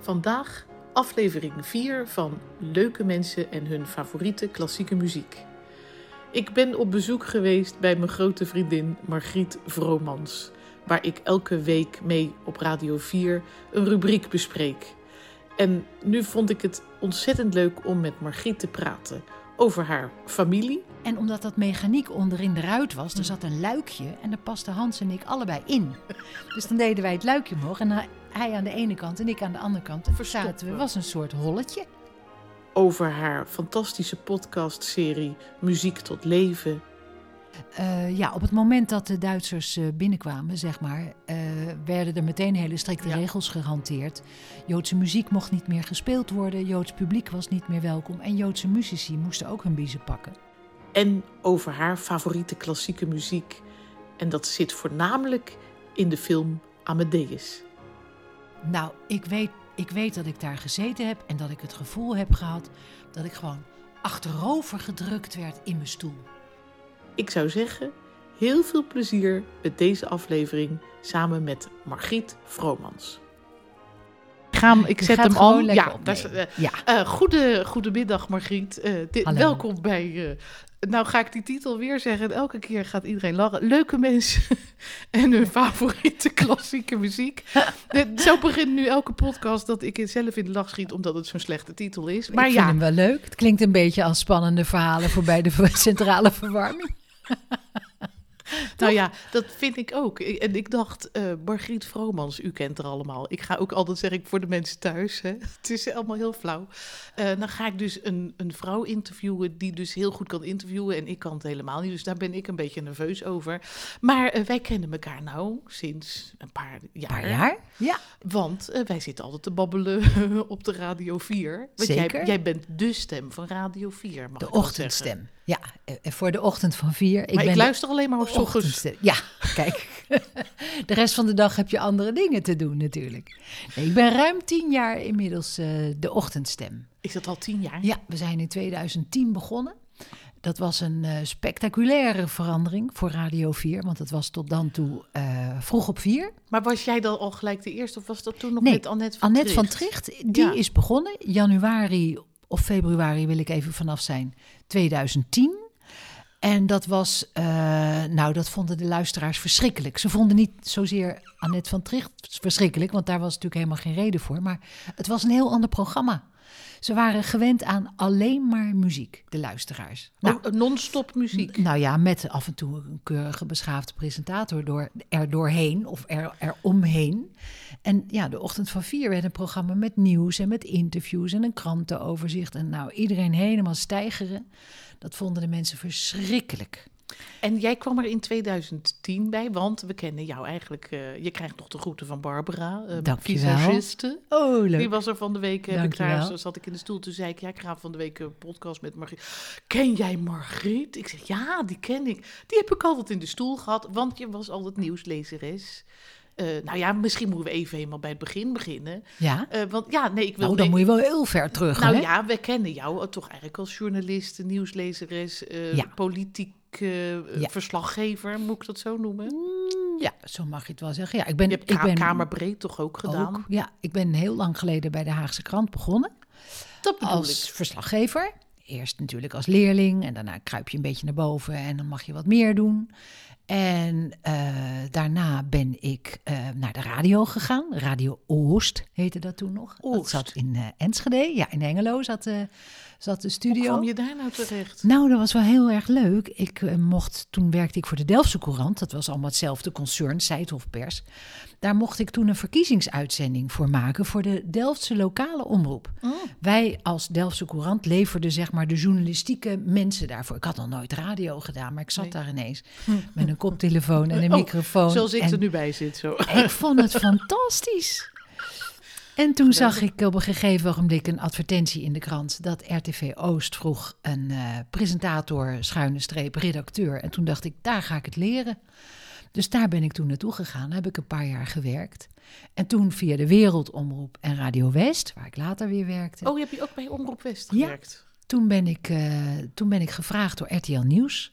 Vandaag aflevering 4 van Leuke mensen en hun favoriete klassieke muziek. Ik ben op bezoek geweest bij mijn grote vriendin Margriet Vromans, waar ik elke week mee op Radio 4 een rubriek bespreek. En nu vond ik het ontzettend leuk om met Margriet te praten over haar familie. En omdat dat mechaniek onderin de ruit was, er zat een luikje en daar pasten Hans en ik allebei in. Dus dan deden wij het luikje omhoog en hij aan de ene kant en ik aan de andere kant. En Verstoppen. zaten we, was een soort holletje. Over haar fantastische podcastserie Muziek tot Leven. Eh, ja, op het moment dat de Duitsers eh, binnenkwamen, zeg maar, eh, werden er meteen hele strikte Ja. regels gehanteerd. Joodse muziek mocht niet meer gespeeld worden, Joods publiek was niet meer welkom en Joodse muzici moesten ook hun biezen pakken. en over haar favoriete klassieke muziek. En dat zit voornamelijk in de film Amadeus. Nou, ik weet, ik weet dat ik daar gezeten heb en dat ik het gevoel heb gehad dat ik gewoon achterover gedrukt werd in mijn stoel. Ik zou zeggen, heel veel plezier met deze aflevering samen met Margriet Vromans. Ik, ga hem, ik Je zet gaat hem gewoon al. lekker Ja, opnemen. daar is- eh, Ja. eh, goede, goedemiddag Margriet. Eh, di- Hallo. welkom bij... eh, nou ga ik die titel weer zeggen. en Elke keer gaat iedereen lachen. Leuke mensen en hun favoriete klassieke muziek. Eh, Zo begint nu elke podcast dat ik zelf in de lach schiet... omdat het zo'n slechte titel is. Maar ik ja, vind hem wel leuk. Het klinkt een beetje als spannende verhalen voorbij de ver- centrale verwarming. Nou ja, dat vind ik ook. Ik- En ik dacht, eh Margriet Vromans, u kent er allemaal. Ik ga ook altijd zeggen, ik voor de mensen thuis. Hè. Het is allemaal heel flauw. Eh, dan ga ik dus een, een vrouw interviewen die dus heel goed kan interviewen. En ik kan het helemaal niet, dus daar ben ik een beetje nerveus over. Maar eh, wij kennen elkaar nou sinds een paar jaar. Paar jaar? Ja. Want eh, wij zitten altijd te babbelen op de Radio 4. Want Jij, Zeker. jij bent de stem van Radio 4, mag De ik wel zeggen. ochtendstem. Ja, eh, eh, voor de ochtend van vier. Maar ik, ben de luister alleen maar op ochtends. ochtendstem. Ja, kijk. de rest van de dag heb je andere dingen te doen natuurlijk. Nee, ik ben ruim tien jaar inmiddels eh, de ochtendstem. Is dat al tien jaar? Ja, we zijn in 2010 begonnen. Dat was een eh, spectaculaire verandering voor Radio 4, want het was tot dan toe eh, vroeg op 4. Maar was jij dan al gelijk de eerste of was dat toen nog Nee, met Annette van Annette van Tricht? Tricht, die Ja. is begonnen januari of februari, wil ik even vanaf zijn, 2010. En dat was, eh, nou, dat vonden de luisteraars verschrikkelijk. Ze vonden niet zozeer Annette van Tricht verschrikkelijk, want daar was natuurlijk helemaal geen reden voor. Maar het was een heel ander programma. Ze waren gewend aan alleen maar muziek, de luisteraars. Nou, Oh, non-stop muziek. Nou ja, met af en toe een keurige beschaafde presentator door, er doorheen of er, er omheen. En ja, de ochtend van vier werd een programma met nieuws en met interviews en een krantenoverzicht. En nou, iedereen helemaal stijgeren. Dat vonden de mensen verschrikkelijk. En jij kwam er in 2010 bij, want we kennen jou eigenlijk. eh, je krijgt nog de groeten van Barbara, uh, Dankjewel. visagiste. Oh, Die was er van de week. Heb ik daar, Dankjewel. zo zat ik in de stoel. Toen zei ik, ja, ik ga van de week een podcast met Margriet. Ken jij Margriet? Ik zeg, ja, die ken ik. Die heb ik altijd in de stoel gehad, want je was altijd nieuwslezeres. Eh, nou ja, misschien moeten we even helemaal bij het begin beginnen. Ja? Eh, want ja, nee, ik wil... Nou, dan nee, moet je wel heel ver terug, Nou hè? ja, we kennen jou toch eigenlijk als journalist, nieuwslezeres, eh, Ja. politiek eh, Ja. verslaggever, moet ik dat zo noemen? Ja, zo mag je het wel zeggen. Ja, ik ben, Je hebt ik Ka- ben Kamerbreed toch ook gedaan? Ook, ja, ik ben heel lang geleden bij de Haagse Krant begonnen. Dat bedoel als ik. verslaggever. Eerst natuurlijk als leerling en daarna kruip je een beetje naar boven en dan mag je wat meer doen. En eh, daarna ben ik eh, naar de radio gegaan. Radio Oost heette dat toen nog. Dat Oost. zat in eh, Enschede, ja, in Engelo zat, eh, zat de Hoe studio. kwam je daar nou terecht? Nou, dat was wel heel erg leuk. Ik eh, mocht, toen werkte ik voor de Delftse Courant. Dat was allemaal hetzelfde concern, Seidhof Pers. Daar mocht ik toen een verkiezingsuitzending voor maken voor de Delftse lokale omroep. Wij als Delftse Courant leverden zeg maar de journalistieke mensen daarvoor. Ik had nog nooit radio gedaan, maar ik zat Nee. daar ineens met een koptelefoon en een Oh, microfoon. Zoals ik en er nu bij zit, zo. ik vond het fantastisch. En toen zag ik op een gegeven ogenblik een advertentie in de krant dat RTV Oost vroeg een eh, presentator, schuine streep, redacteur. En toen dacht ik, daar ga ik het leren. Dus daar ben ik toen naartoe gegaan, Daar heb ik een paar jaar gewerkt. En toen via de Wereldomroep en Radio West, waar ik later weer werkte. Oh, je hebt je ook bij Omroep West Ja. gewerkt? Toen ben, ik, eh, toen ben ik gevraagd door RTL Nieuws.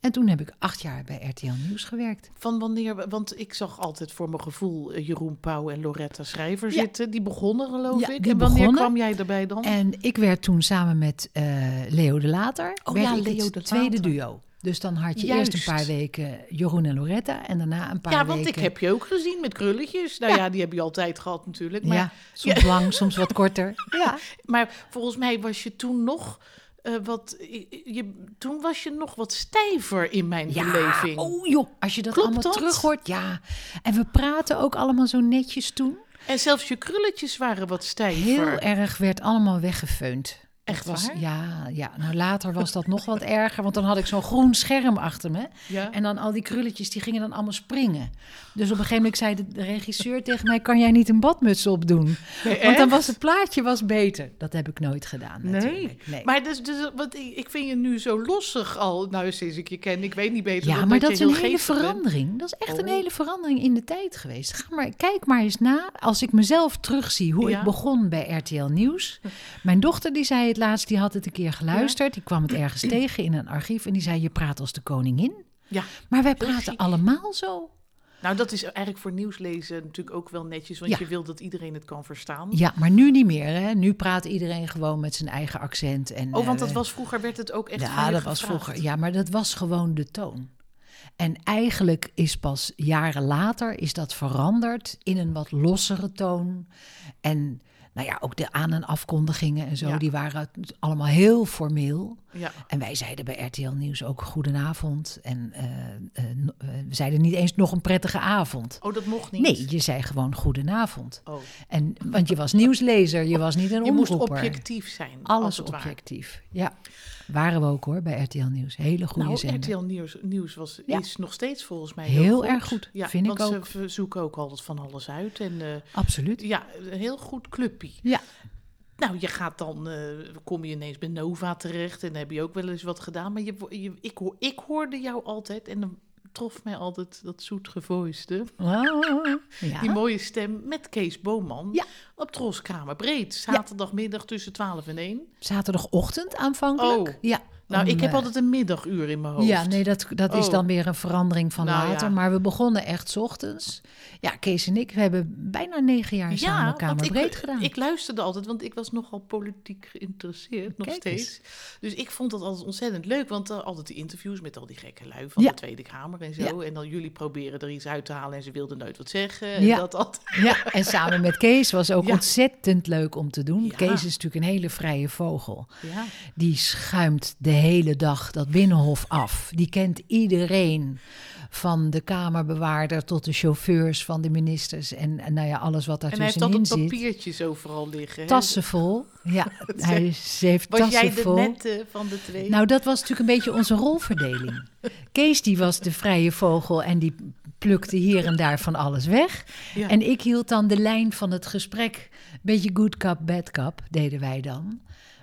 En toen heb ik acht jaar bij RTL Nieuws gewerkt. Van wanneer, want ik zag altijd voor mijn gevoel eh, Jeroen Pauw en Loretta Schrijver Ja. zitten. Die begonnen geloof Ja, ik. die en wanneer begonnen. kwam jij daarbij dan? En ik werd toen samen met eh, Leo de Later Oh werd ja, ik Leo het de tweede Later. duo. Dus dan had je eerst Juist. een paar weken Jeroen en Loretta en daarna een paar ja, weken... want ik heb je ook gezien met krulletjes. Nou ja, die heb je altijd gehad natuurlijk. Maar, Ja, soms lang, soms wat korter. Ja. maar volgens mij was je toen nog eh, wat... Je, toen was je nog wat stijver in mijn beleving. oh joh, als je dat Klopt allemaal dat? terug hoort, ja. En we praten ook allemaal zo netjes toen. En zelfs je krulletjes waren wat stijver. Heel erg werd allemaal weggefeund. Dat Echt was, waar? Ja, ja, nou later was dat nog wat erger, want dan had ik zo'n groen scherm achter me. Ja. En dan al die krulletjes, die gingen dan allemaal springen. Dus op een gegeven moment zei de de regisseur tegen mij, kan jij niet een badmuts opdoen? Nee, Want dan echt? was het plaatje was beter. Dat heb ik nooit gedaan Nee. natuurlijk. Nee. maar dus, dus, want ik, ik vind je nu zo lossig al. Nou, sinds ik je ken, ik weet niet beter. Ja, dan maar dat dat is je een heel hele geestig bent. verandering. Dat is echt een Oh. hele verandering in de tijd geweest. Ga maar, kijk maar eens na, als ik mezelf terugzie, hoe Ja. ik begon bij RTL Nieuws. Mijn dochter, die zei het laatst, die had het een keer geluisterd. Die kwam het ergens tegen in een archief en die zei, je praat als de koningin. Ja, Maar wij Heel praten chic. allemaal zo. nou dat is eigenlijk voor nieuwslezen natuurlijk ook wel netjes. Want Ja. je wil dat iedereen het kan verstaan. Ja, maar nu niet meer. Hè? Nu praat iedereen gewoon met zijn eigen accent. En, Oh, want eh, dat was vroeger, werd het ook echt van Ja, je dat was gevraagd. vroeger. Ja, maar dat was gewoon de toon. En eigenlijk is pas jaren later is dat veranderd in een wat lossere toon. En nou ja, ook de aan- en afkondigingen en zo, Ja. die waren allemaal heel formeel. Ja. En wij zeiden bij RTL Nieuws ook goedenavond. En eh, eh, no- eh, we zeiden niet eens nog een prettige avond. Oh, dat mocht niet? Nee, je zei gewoon goedenavond. Oh. En, want je was nieuwslezer, je was niet een Je moest omroeper. objectief zijn. als Alles het ware. objectief. Ja, waren we ook hoor bij RTL Nieuws. Hele goede Nou, zender. RTL Nieuws, nieuws was, Ja. is nog steeds volgens mij heel, Heel erg goed, Ja, vind want ik ze ook. v- zoeken ook altijd van alles uit. En eh, Absoluut. ja, een heel goed clubje. Ja. Nou, je gaat dan, eh, kom je ineens bij Nova terecht en dan heb je ook wel eens wat gedaan. Maar je, wo- je, ik, hoor- ik hoorde jou altijd en dan trof mij altijd dat zoet gevoiste, Ah, die ja. mooie stem met Kees Boman Ja. op Troskamer Breed. Zaterdagmiddag tussen 12 en 1. Zaterdagochtend aanvankelijk. Oh. Ja. Nou, om, ik heb eh, altijd een middaguur in mijn hoofd. Ja, nee, dat, dat is Oh. dan weer een verandering van Nou, later. ja. Maar we begonnen echt 's ochtends. Ja, Kees en ik, we hebben bijna negen jaar samen want ik- Kamerbreed gedaan. Ik luisterde altijd, want ik was nogal politiek geïnteresseerd, nog Kijk eens. steeds. Dus ik vond dat altijd ontzettend leuk, want eh, altijd die interviews met al die gekke lui van Ja. de Tweede Kamer en zo. En dan jullie proberen er iets uit te halen en ze wilden nooit wat zeggen. En Ja. dat altijd. Ja, en samen met Kees was ook Ja. ontzettend leuk om te doen. Ja. Kees is natuurlijk een hele vrije vogel. Ja. Die schuimt de hele dag dat binnenhof af. Die kent iedereen. Van de kamerbewaarder tot de chauffeurs van de ministers. En, en nou ja, alles wat En hij heeft daartussenin altijd zit. papiertjes overal liggen. hè. Tassen vol. Ja, hij is- heeft Was jij tassen de vol. nette van de twee? Nou, dat was natuurlijk een beetje onze rolverdeling. Kees die was de vrije vogel en die plukte hier en daar van alles weg. Ja. En ik hield dan de lijn van het gesprek. Beetje good cup, bad cup deden wij dan.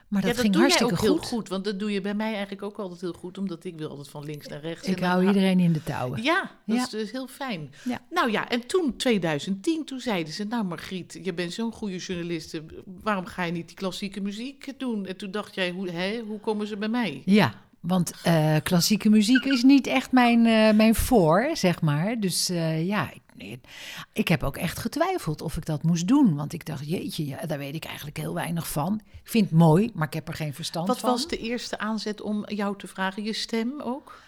Maar dat, ja, dat ging doe hartstikke jij ook goed. heel goed, want dat doe je bij mij eigenlijk ook altijd heel goed, omdat ik wil altijd van links naar rechts. Ik en dan hou iedereen in de touwen. Ja, dat Ja. is dus heel fijn. Ja. Nou ja, en toen, 2010, toen zeiden ze... Nou Margriet, je bent zo'n goede journaliste. Waarom ga je niet die klassieke muziek doen? En toen dacht jij, hoe, hè, hoe komen ze bij mij? Ja, want eh, klassieke muziek is niet echt mijn, eh, mijn voor, zeg maar. Dus eh, ja, ik, ik heb ook echt getwijfeld of ik dat moest doen. Want ik dacht, jeetje, ja, daar weet ik eigenlijk heel weinig van. Ik vind het mooi, maar ik heb er geen verstand Wat van. was de eerste aanzet om jou te vragen? Je stem ook?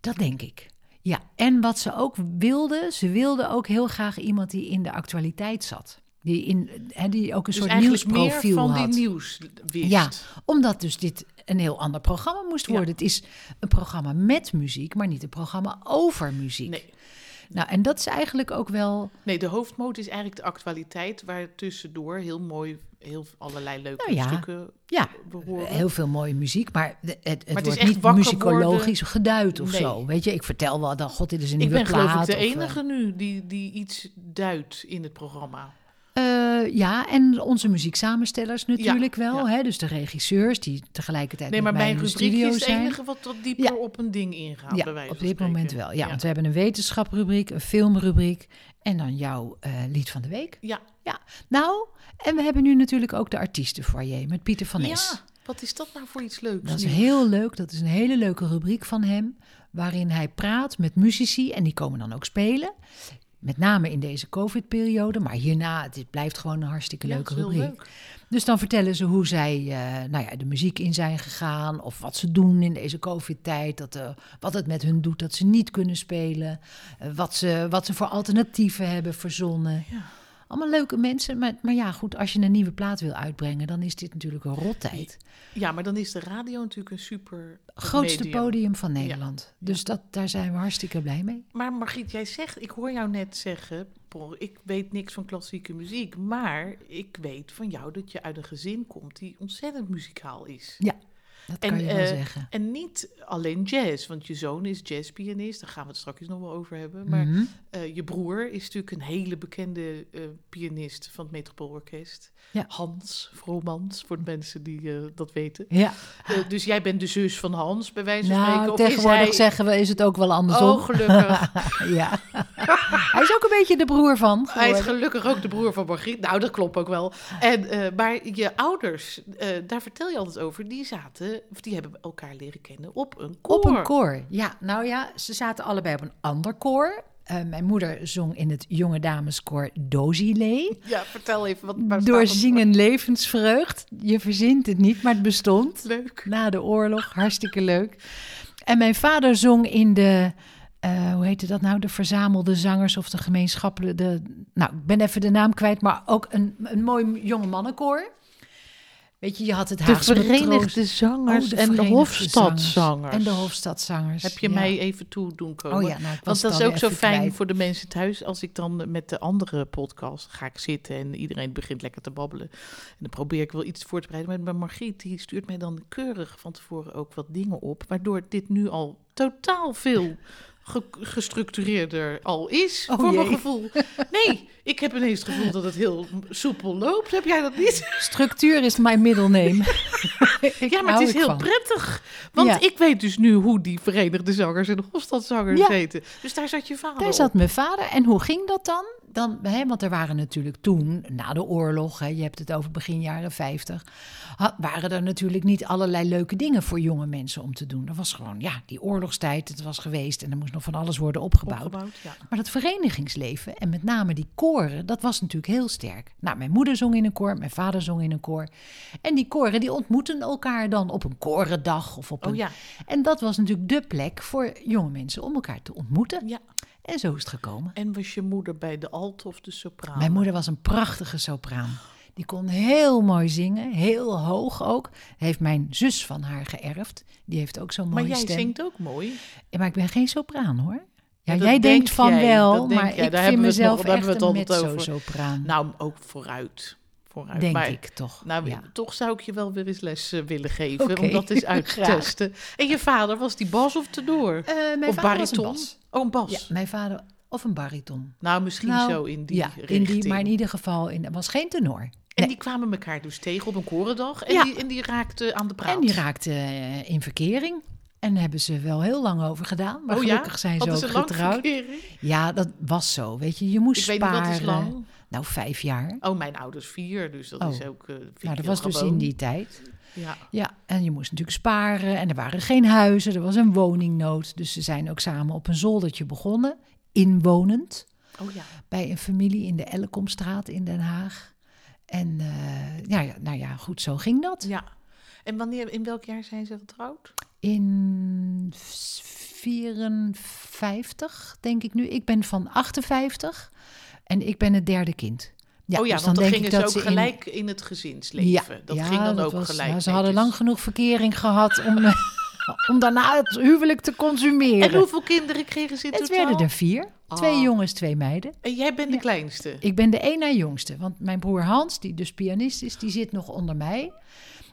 Dat denk ik. Ja, en wat ze ook wilden, ze wilden ook heel graag iemand die in de actualiteit zat. Die, in, eh, hè, die ook een Dus soort eigenlijk meer nieuwsprofiel van had. die nieuws wist. Ja, omdat dus dit een heel ander programma moest worden. Het is een programma met muziek, maar niet een programma over muziek. Nee. Nou, en dat is eigenlijk ook wel. nee, de hoofdmoot is eigenlijk de actualiteit... waar tussendoor heel mooi heel allerlei leuke Nou ja. stukken Ja, behoren. heel veel mooie muziek, maar de- het, het, is wordt echt niet wakker muzikologisch geduid of Nee. zo. Weet je, ik vertel wel dan, god, dit is ik een nieuwe ben geloof ik plaat de of, eh, enige nu die, die iets duidt in het programma. Eh, ja, en onze muzieksamenstellers natuurlijk wel. ja. Hè? Dus de regisseurs die tegelijkertijd Nee, met maar mij mijn in de rubriekje studio is het zijn. enige wat, wat dieper Ja. op een ding ingaat. bij ja, wijze op van dit moment spreken. wel. Ja, want we hebben een wetenschaprubriek, een filmrubriek en dan jouw eh, lied van de week. Ja. Ja, nou, en we hebben nu natuurlijk ook de artiestenfoyer met Pieter van Nes. Ja, wat is dat nou voor iets leuks? Dat is nieuws? heel leuk, dat is een hele leuke rubriek van hem. waarin hij praat met muzici en die komen dan ook spelen. Met name in deze COVID-periode, maar hierna, dit blijft gewoon een hartstikke Ja, leuke is heel rubriek. leuk. Dus dan vertellen ze hoe zij eh, nou ja, de muziek in zijn gegaan. Of wat ze doen in deze COVID-tijd. Dat, eh, wat het met hun doet dat ze niet kunnen spelen. eh, wat, ze, wat ze voor alternatieven hebben verzonnen. Ja. Allemaal leuke mensen. Maar, maar ja, goed, als je een nieuwe plaat wil uitbrengen, dan is dit natuurlijk een rottijd. Ja, maar dan is de radio natuurlijk een super Grootste medium. podium van Nederland. Dus dat, daar zijn we hartstikke blij mee. Maar Margriet, jij zegt, ik hoor jou net zeggen, Paul, ik weet niks van klassieke muziek, maar ik weet van jou dat je uit een gezin komt die ontzettend muzikaal is. Dat En, kan je wel eh, zeggen. En niet alleen jazz, want je zoon is jazzpianist, daar gaan we het straks nog wel over hebben. Maar Mhm. eh, je broer is natuurlijk een hele bekende eh, pianist van het Metropoolorkest. Ja. Hans Vromans, voor de mensen die eh, dat weten. Ja, Eh, dus jij bent de zus van Hans, bij wijze van nou, spreken. Of is tegenwoordig hij- zeggen we, is het ook wel andersom. Oh, gelukkig. Ja. Hij is ook een beetje de broer van. Hij is geworden. gelukkig ook de broer van Margriet. Nou, dat klopt ook wel. En, eh, maar je ouders, eh, daar vertel je altijd over, die zaten, of die hebben elkaar leren kennen op een koor. Op een koor, ja. Nou ja, ze zaten allebei op een ander koor. Eh, mijn moeder zong in het jonge dameskoor Dozile. Ja, vertel even wat waar staat Door dat? zingen levensvreugd. Je verzint het niet, maar het bestond. Leuk. Na de oorlog, hartstikke leuk. En mijn vader zong in de, eh, hoe heette dat nou, de verzamelde zangers of de gemeenschappelijke, de, nou ik ben even de naam kwijt, maar ook een, een mooi jonge mannenkoor. Weet je, je had het De Haagse Matroos- Verenigde Zangers Oh, de en de Verenigde Hofstadzangers. En de Hofstadzangers. Heb je ja. mij even toe doen komen? Oh ja, nou, ik Want was dat het is dan ook weer zo even fijn kwijt. voor de mensen thuis. Als ik dan met de andere podcast ga ik zitten en iedereen begint lekker te babbelen. En dan probeer ik wel iets voor te bereiden. Maar Margriet die stuurt mij dan keurig van tevoren ook wat dingen op. Waardoor dit nu al totaal veel ge- gestructureerder al is. Oh voor mijn jee. gevoel. Nee, ik heb ineens het gevoel dat het heel soepel loopt. Heb jij dat niet? Structuur is mijn middle name. Ik Ja, maar hou het is ik heel van. prettig. Want Ja. ik weet dus nu hoe die Verenigde Zangers en de Hofstadzangers Ja. heten. Dus daar zat je vader Daar op. zat mijn vader. En hoe ging dat dan? dan hè, want er waren natuurlijk toen, na de oorlog, hè, je hebt het over begin jaren 50, ha- waren er natuurlijk niet allerlei leuke dingen voor jonge mensen om te doen. Dat was gewoon, ja, die oorlogstijd, het was geweest en er moest nog van alles worden opgebouwd. opgebouwd. Ja. Maar dat verenigingsleven en met name die koren, dat was natuurlijk heel sterk. Nou, mijn moeder zong in een koor, mijn vader zong in een koor. En die koren die ontmoeten elkaar dan op een korendag of op een... Oh ja. En dat was natuurlijk de plek voor jonge mensen om elkaar te ontmoeten. ja. En zo is het gekomen. En was je moeder bij de alt of de sopraan? Mijn moeder was een prachtige sopraan. Die kon heel mooi zingen, heel hoog ook. Heeft mijn zus van haar geërfd. Die heeft ook zo'n mooie maar jij stem. zingt ook mooi. Ja, Maar ik ben geen sopraan hoor. Ja, dat jij denk denkt van jij, wel, dat denk maar jij. ik Daar vind hebben we het nog- mezelf daar echt hebben we een het altijd over. mezzo-sopraan. Nou, ook vooruit. vooruit. denk maar, ik toch. Nou, ja. toch zou ik je wel weer eens les eh, willen geven. Oké. Om dat eens uit te Graag. testen. En je vader, was die bas of tenor? Eh, mijn of vader was een bariton? bas. Oh, een bas. Ja, mijn vader of een bariton. Nou, misschien Nou, zo in die ja, in richting. die, maar in ieder geval, in, het was geen tenor. En die kwamen elkaar dus tegen op een korendag. En, Ja. die, en die raakten aan de praat. En die raakte eh, in verkering. En daar hebben ze wel heel lang over gedaan. Maar Oh ja? gelukkig zijn ze Hadden ook ze lang getrouwd. verkering? Ja, dat was zo. Weet je, je moest Ik weet niet, sparen. wat is lang? Nou, vijf jaar. Oh, mijn ouders vier, dus dat Oh. is ook... eh, vind ik nou, dat heel was dus gewoon. in die tijd. Ja. Ja, en je moest natuurlijk sparen. En er waren geen huizen, er was een woningnood. Dus ze zijn ook samen op een zoldertje begonnen. Inwonend. Oh ja. Bij een familie in de Ellekomstraat in Den Haag. En eh, ja, ja, nou ja, goed, zo ging dat. ja. En wanneer, in welk jaar zijn ze getrouwd? In 54, denk ik nu. Ik ben van 58 en ik ben het derde kind. oh ja, want dus dan, denk gingen ik ze dat ook ze in- gelijk in... het gezinsleven. dat ging dan dat ook was- gelijk. nou, ze hadden lang netjes. genoeg verkering gehad om, eh, om daarna het huwelijk te consumeren. En hoeveel kinderen kregen ze in het totaal? werden er vier. Twee Ah. jongens, twee meiden. En jij bent de Ja. kleinste. Ik ben de één na jongste, want mijn broer Hans, die dus pianist is, die zit nog onder mij.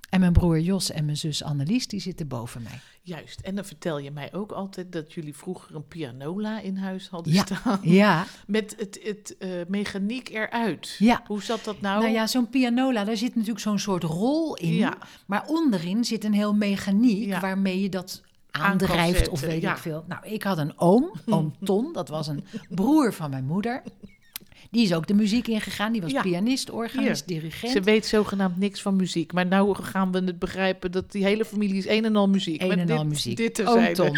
En mijn broer Jos en mijn zus Annelies, die zitten boven mij. Juist. En dan vertel je mij ook altijd dat jullie vroeger een pianola in huis hadden Ja. staan. Ja, Met het, het eh, mechaniek eruit. Ja. Hoe zat dat nou? nou ja, zo'n pianola, daar zit natuurlijk zo'n soort rol in. Ja. Maar onderin zit een heel mechaniek Ja. waarmee je dat kan aandrijft of zetten, weet ja. ik veel. Nou, ik had een oom, oom Ton, dat was een broer van mijn moeder. Die is ook de muziek ingegaan. Die was Ja. pianist, organist, dirigent. Ze weet zogenaamd niks van muziek. Maar nou gaan we het begrijpen dat die hele familie is een en al muziek. een Maar en dit, al muziek. Dit Oom terzijde. Tom.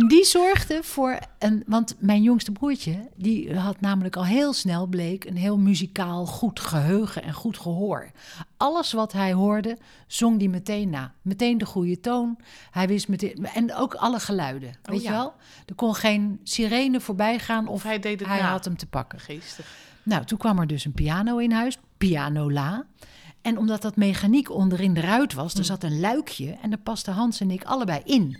En die zorgde voor een. Want mijn jongste broertje, die had namelijk al heel snel bleek een heel muzikaal goed geheugen en goed gehoor. Alles wat hij hoorde, zong die meteen na. Meteen de goede toon. Hij wist meteen. En ook alle geluiden. weet Oh ja. je wel? Er kon geen sirene voorbij gaan of Of hij deed het hij na. had hem te pakken. Geestig. Nou, toen kwam er dus een piano in huis, pianola. En omdat dat mechaniek onderin de ruit was, Hmm. er zat een luikje en daar pasten Hans en ik allebei in.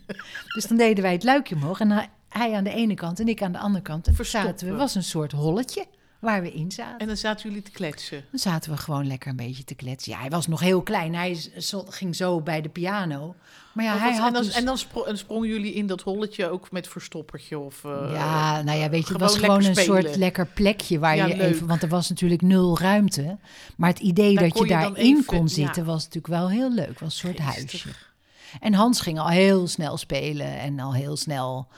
Dus dan deden wij het luikje omhoog en hij- hij aan de ene kant en ik aan de andere kant. En toen zaten we, Verstoppen. was een soort holletje waar we in zaten. En dan zaten jullie te kletsen. Dan zaten we gewoon lekker een beetje te kletsen. Ja, hij was nog heel klein, hij is- zo- ging zo bij de piano. Maar ja, Want hij dat- had Oh, en dan, dus- en dan spro- en sprongen jullie in dat holletje ook met verstoppertje of... eh, Ja, nou ja, weet je, het gewoon was gewoon een lekker spelen. soort lekker plekje waar Ja, je leuk. even, want er was natuurlijk nul ruimte. Maar het idee Daar dat kon je je dan daarin even- kon ja. zitten was natuurlijk wel heel leuk. Was een soort Geestig. huisje. En Hans ging al heel snel spelen en al heel snel,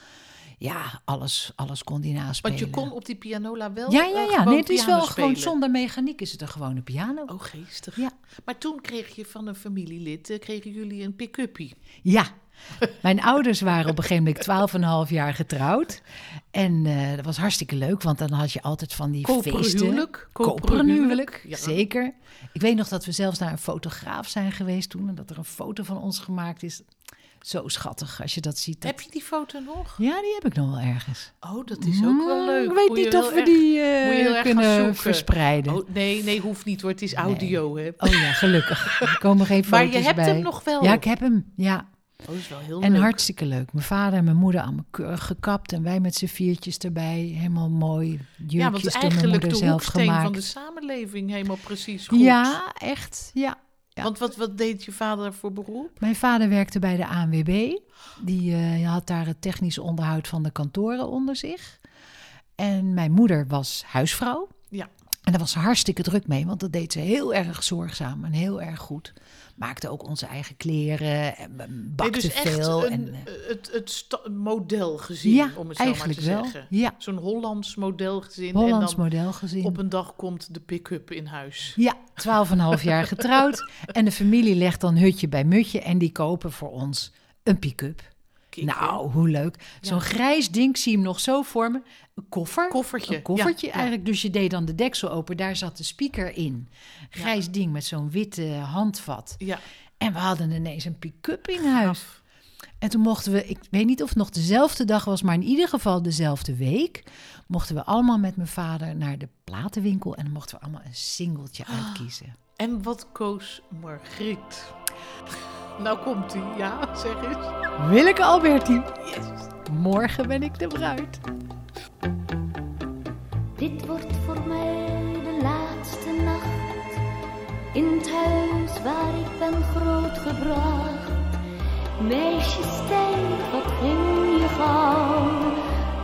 ja, alles, alles kon hij naspelen. Want je kon op die pianola wel ja, ja, eh, ja. gewoon Nee, het is piano wel gewoon spelen. zonder mechaniek is het een gewone piano. Oh, geestig. Ja. Maar toen kreeg je van een familielid, eh, kregen jullie een pick-uppie. Ja. Mijn ouders waren op een gegeven moment twaalf en een half jaar getrouwd. En eh, dat was hartstikke leuk, want dan had je altijd van die Koperen feesten. huwelijk, koperen Koperen huwelijk, huwelijk, ja. zeker. Ik weet nog dat we zelfs naar een fotograaf zijn geweest toen... en dat er een foto van ons gemaakt is. Zo schattig, als je dat ziet. dat- Heb je die foto nog? Ja, die heb ik nog wel ergens. Oh, dat is ook wel Mm, leuk. Ik weet Moet je niet of wel we erg- die moet je eh, heel erg gaan kunnen zoeken. verspreiden. Oh, Oh, nee, nee, hoeft niet hoor. Het is audio, hè. ja, gelukkig. Er komen geen Oh, foto's Maar je hebt bij. hem nog wel. Ja, ik heb hem, ja. Oh, dat is wel heel En leuk. hartstikke leuk. Mijn vader en mijn moeder allemaal keurig gekapt. En wij met z'n viertjes erbij. Helemaal mooi. Jurkjes ja, want door mijn eigenlijk moeder de zelf hoeksteen gemaakt. van de samenleving helemaal precies goed. Ja, echt. Ja. ja. Want wat, wat deed je vader voor beroep? Mijn vader werkte bij de ANWB. Die eh, had daar het technisch onderhoud van de kantoren onder zich. En mijn moeder was huisvrouw. Ja. En daar was ze hartstikke druk mee, want dat deed ze heel erg zorgzaam en heel erg goed. Maakte ook onze eigen kleren en Nee, bakte dus echt veel. een, en, eh, het, het sta- model gezien, ja, om het zo maar eigenlijk te wel. zeggen. Ja, Zo'n Hollands modelgezin. Hollands en model gezien. dan op een dag komt de pick-up in huis. Ja, 12,5 jaar getrouwd. En de familie legt dan hutje bij mutje en die kopen voor ons een pick-up. Kijk, nou, hoe leuk. Zo'n grijs ding, ik zie hem nog zo voor me. Een koffer. hè. koffertje. Een koffertje Ja, ja. eigenlijk. Dus je deed dan de deksel open, daar zat de speaker in. Grijs ding met zo'n witte handvat. Ja, En we hadden ineens een pick-up in huis. En toen mochten we, ik weet niet of het nog dezelfde dag was, maar in ieder geval dezelfde week, mochten we allemaal met mijn vader naar de platenwinkel en dan mochten we allemaal een singeltje uitkiezen. En wat koos Margriet? Nou komt hij, ja, zeg eens. Willeke Alberti, Yes. morgen ben ik de bruid. Dit wordt voor mij de laatste nacht in het huis waar ik ben grootgebracht. Meisje, stijf, wat ging je gauw?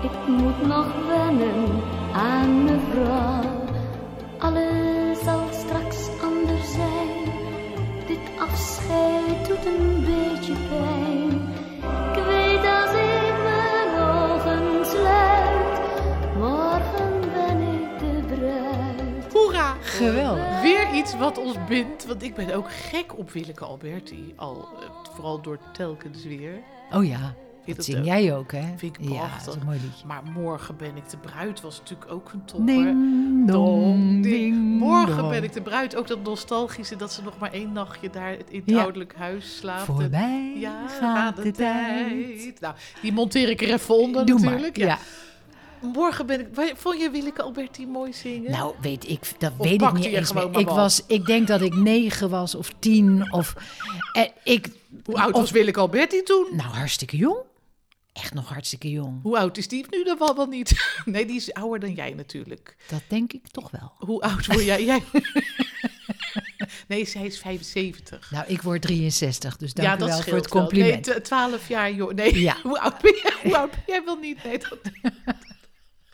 Ik moet nog wennen aan mevrouw. Alles zal straks anders zijn. Dit afscheid doet een beetje pijn. Ik weet als ik mijn ogen sluit, morgen ben ik de bruid. Hoera! Geweldig. Weer iets wat ons bindt, want ik ben ook gek op Willeke Alberti. Al, eh, vooral door telkens weer. Oh ja, Vind dat dat zing ook. jij ook hè? Vind ik ja, prachtig. dat is een mooi liedje. Maar morgen ben ik de bruid was natuurlijk ook een topper. Dong, Ding, ding. dong, ding, Morgen dong. ben ik de bruid. Ook dat nostalgische dat ze nog maar één nachtje daar in het Ja. ouderlijk huis slaapt. Voorbij Ja, gaat de tijd. Nou, die monteer ik er even onder Doe maar, natuurlijk. Ja. Morgen ben ik... Wa- Vond je Willeke Alberti mooi zingen? Nou, weet ik, dat Of weet ik pakte niet je eens gewoon meer. maar Ik, wat? was, ik denk dat ik negen was of tien of... eh, ik, Hoe oud of- was Willeke Alberti toen? Nou, hartstikke jong. Echt nog hartstikke jong. Hoe oud is die nu dan wel, wel niet? Nee, die is ouder dan jij natuurlijk. Dat denk ik toch wel. Hoe oud word jij? jij... Nee, zij is 75. Nou, ik word 63, dus dank ja, u dat wel scheelt voor het wel. compliment. Nee, twa- 12 jaar joh. Nee, Ja. hoe, oud ben jij, hoe oud ben jij wel niet? Nee, dat...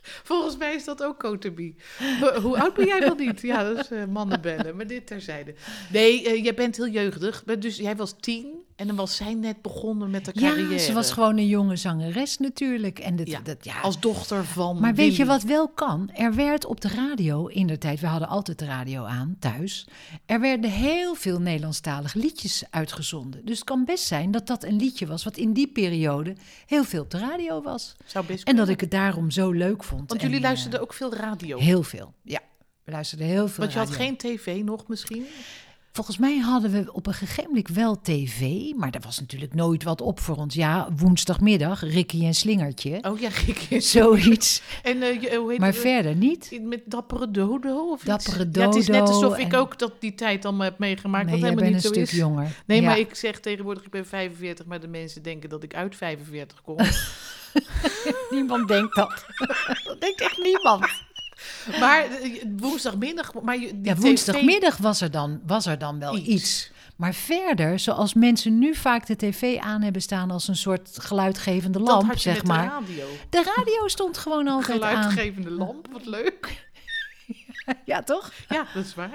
Volgens mij is dat ook Kotebi. Hoe, hoe oud ben jij wel niet? Ja, dat is eh, mannen bellen. Maar dit terzijde. Nee, eh, jij bent heel jeugdig. Maar Dus jij was tien En dan was zij net begonnen met haar carrière. Ja, ze was gewoon een jonge zangeres natuurlijk. En dat, Ja, dat, ja. Als dochter van. maar weet je Willy. wat wel kan? Er werd op de radio in de tijd, we hadden altijd de radio aan thuis. Er werden heel veel Nederlandstalige liedjes uitgezonden. Dus het kan best zijn dat dat een liedje was wat in die periode heel veel op de radio was. Zou best En dat kunnen. ik het daarom zo leuk vond. Want En, jullie eh, luisterden ook veel radio. Heel veel, ja. We luisterden heel veel Want je had radio. geen tv nog misschien? Volgens mij hadden we op een gegeven moment wel tv, maar daar was natuurlijk nooit wat op voor ons. Ja, woensdagmiddag, Ricky en Slingertje, Oh ja, gek is. zoiets. En eh, je- hoe heet Maar het? verder niet. Met dappere dodo of iets? Dappere Ja, het is net Dodo alsof ik en- ook dat die tijd allemaal heb meegemaakt, Nee, wat jij helemaal bent een niet zo stuk is. jonger. Nee, Ja. maar ik zeg tegenwoordig, ik ben 45, maar de mensen denken dat ik uit 45 kom. Niemand denkt dat. dat denkt echt niemand. maar eh, woensdagmiddag... Maar je- die Ja, tv woensdagmiddag was er, dan, was er dan wel iets. Maar verder, zoals mensen nu vaak de tv aan hebben staan als een soort geluidgevende dat lamp, had je zeg met maar. de radio. De radio stond gewoon altijd aan. Geluidgevende lamp, wat leuk. Ja, toch? Ja, dat is waar.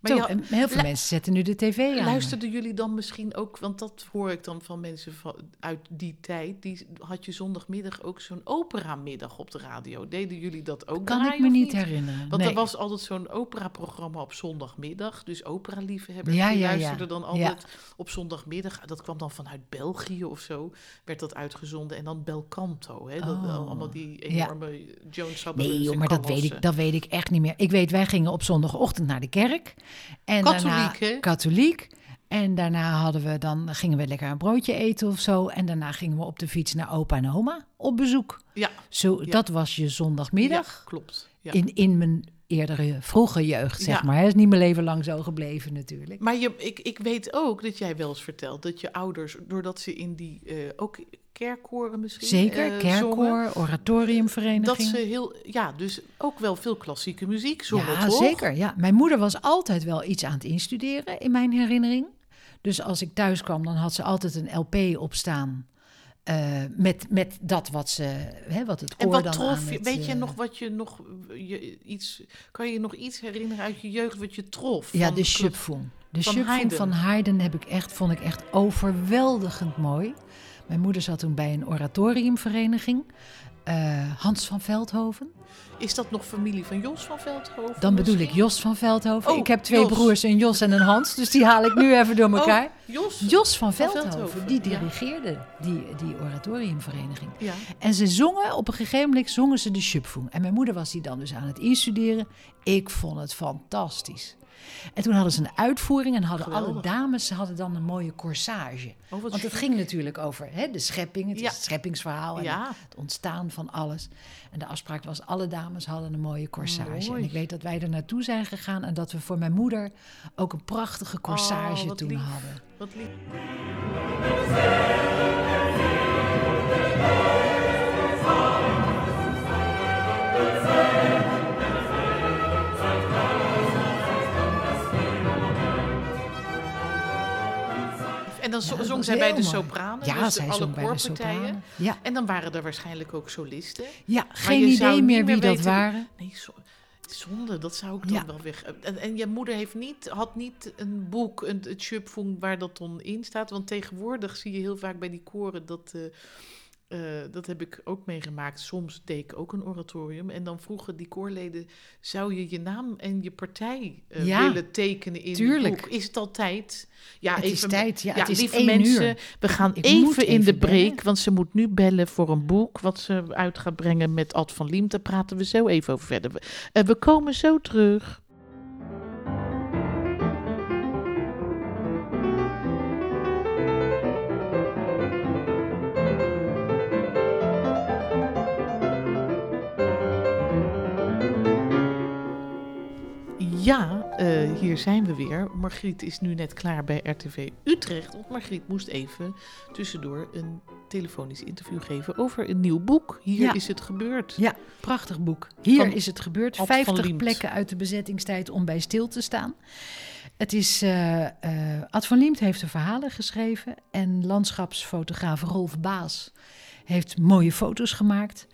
Maar Zo, je had- en heel veel lu- mensen zetten nu de tv aan. Luisterden jullie dan misschien ook, want dat hoor ik dan van mensen van, uit die tijd, die had je zondagmiddag ook zo'n operamiddag op de radio. Deden jullie dat ook? kan draaien ik me of niet herinneren. Want nee. er was altijd zo'n operaprogramma op zondagmiddag, dus operaliefhebbers Ja, die ja, ja. luisterden dan Ja. altijd op zondagmiddag. Dat kwam dan vanuit België of zo, werd dat uitgezonden. En dan Belcanto, hè? Dat, Oh. allemaal die Ja. enorme Joan Sutherland Nee, en joh, maar dat weet, Carrossen. ik, dat weet ik echt niet meer. Ik weet, wij gingen op zondagochtend naar de kerk. En daarna, Katholiek, hè? Katholiek. En daarna hadden we dan, gingen we lekker een broodje eten of zo. En daarna gingen we op de fiets naar opa en oma op bezoek. Ja, Zo, Ja. Dat was je zondagmiddag ja, klopt. Ja. in, in mijn eerdere vroege jeugd, zeg Ja. maar. Het is niet mijn leven lang zo gebleven natuurlijk. Maar je, ik, ik weet ook dat jij wel eens vertelt dat je ouders, doordat ze in die eh, ook kerkkoren misschien. Zeker, eh, zongen, kerkkoor, dat oratoriumvereniging. ze heel, ja, dus ook wel veel klassieke muziek zongen. ja, toch? zeker. Ja. Mijn moeder was altijd wel iets aan het instuderen, in mijn herinnering. Dus als ik thuis kwam, dan had ze altijd een LP opstaan. eh met, met dat wat ze, hè, wat het koor En wat dan aan trof je? het, Weet je eh, nog wat je nog je, iets? Kan je je nog iets herinneren uit je jeugd wat je trof? Ja, van de klas- Schöpfung. De van Schöpfung Haydn. van Haydn heb ik echt, vond ik echt overweldigend mooi. Mijn moeder zat toen bij een oratoriumvereniging. eh, Hans van Veldhoven. Is dat nog familie van Jos van Veldhoven? Dan bedoel ik misschien? Jos van Veldhoven. Oh, ik heb twee Jos. broers, een Jos en een Hans. Dus die haal ik nu even door elkaar. Oh, Jos. Jos van Van Veldhoven, Veldhoven, die ja. dirigeerde die, die oratoriumvereniging. Ja. oh, En ze zongen, op een gegeven moment zongen ze de Schöpfung. En mijn moeder was die dan dus aan het instuderen. Ik vond het fantastisch. En toen hadden ze een uitvoering en hadden alle Geweldig. dames ze hadden dan een mooie corsage. Oh, wat Want het chic. ging natuurlijk over hè, de schepping, het, is Ja. het scheppingsverhaal en Ja. het ontstaan van alles. En de afspraak was, alle dames hadden een mooie corsage. Mooi. En ik weet dat wij er naartoe zijn gegaan en dat we voor mijn moeder ook een prachtige corsage Oh, wat toen lief. hadden. Wat lief. En dan zo- Ja, dat zong was zij bij heel de mooi. sopranen, dus Ja, de- zij alle zong bij de koorpartijen. sopranen. Ja, En dan waren er waarschijnlijk ook solisten. ja Maar je geen zou idee niet meer wie dat weten- waren. Nee, zo- zonde, dat zou ik dan Ja. wel weg... eh, En, en je moeder heeft niet, had niet een boek, een, het Schöpfung, waar dat dan in staat. Want tegenwoordig zie je heel vaak bij die koren dat... eh, eh, dat heb ik ook meegemaakt. Soms deed ik ook een oratorium. En dan vroegen die koorleden: zou je je naam en je partij eh, Ja, willen tekenen in het tuurlijk. boek? Is het al tijd? Ja, Het is tijd. Ja, het is lieve één mensen, uur. we gaan Ik even, moet in even de break, bellen. want ze moet nu bellen voor een boek wat ze uit gaat brengen met Ad van Liem. Daar praten we zo even over verder. We, eh, we komen zo terug. Ja, eh, hier zijn we weer. Margriet is nu net klaar bij RTV Utrecht. Want Margriet moest even tussendoor een telefonisch interview geven over een nieuw boek. Hier Ja. is het gebeurd. Ja, prachtig boek. Hier Van is het gebeurd. Ad van 50 Liemt. plekken uit de bezettingstijd om bij stil te staan. Het is, eh eh, Ad van Liemt heeft de verhalen geschreven en landschapsfotograaf Rolf Baas heeft mooie foto's gemaakt.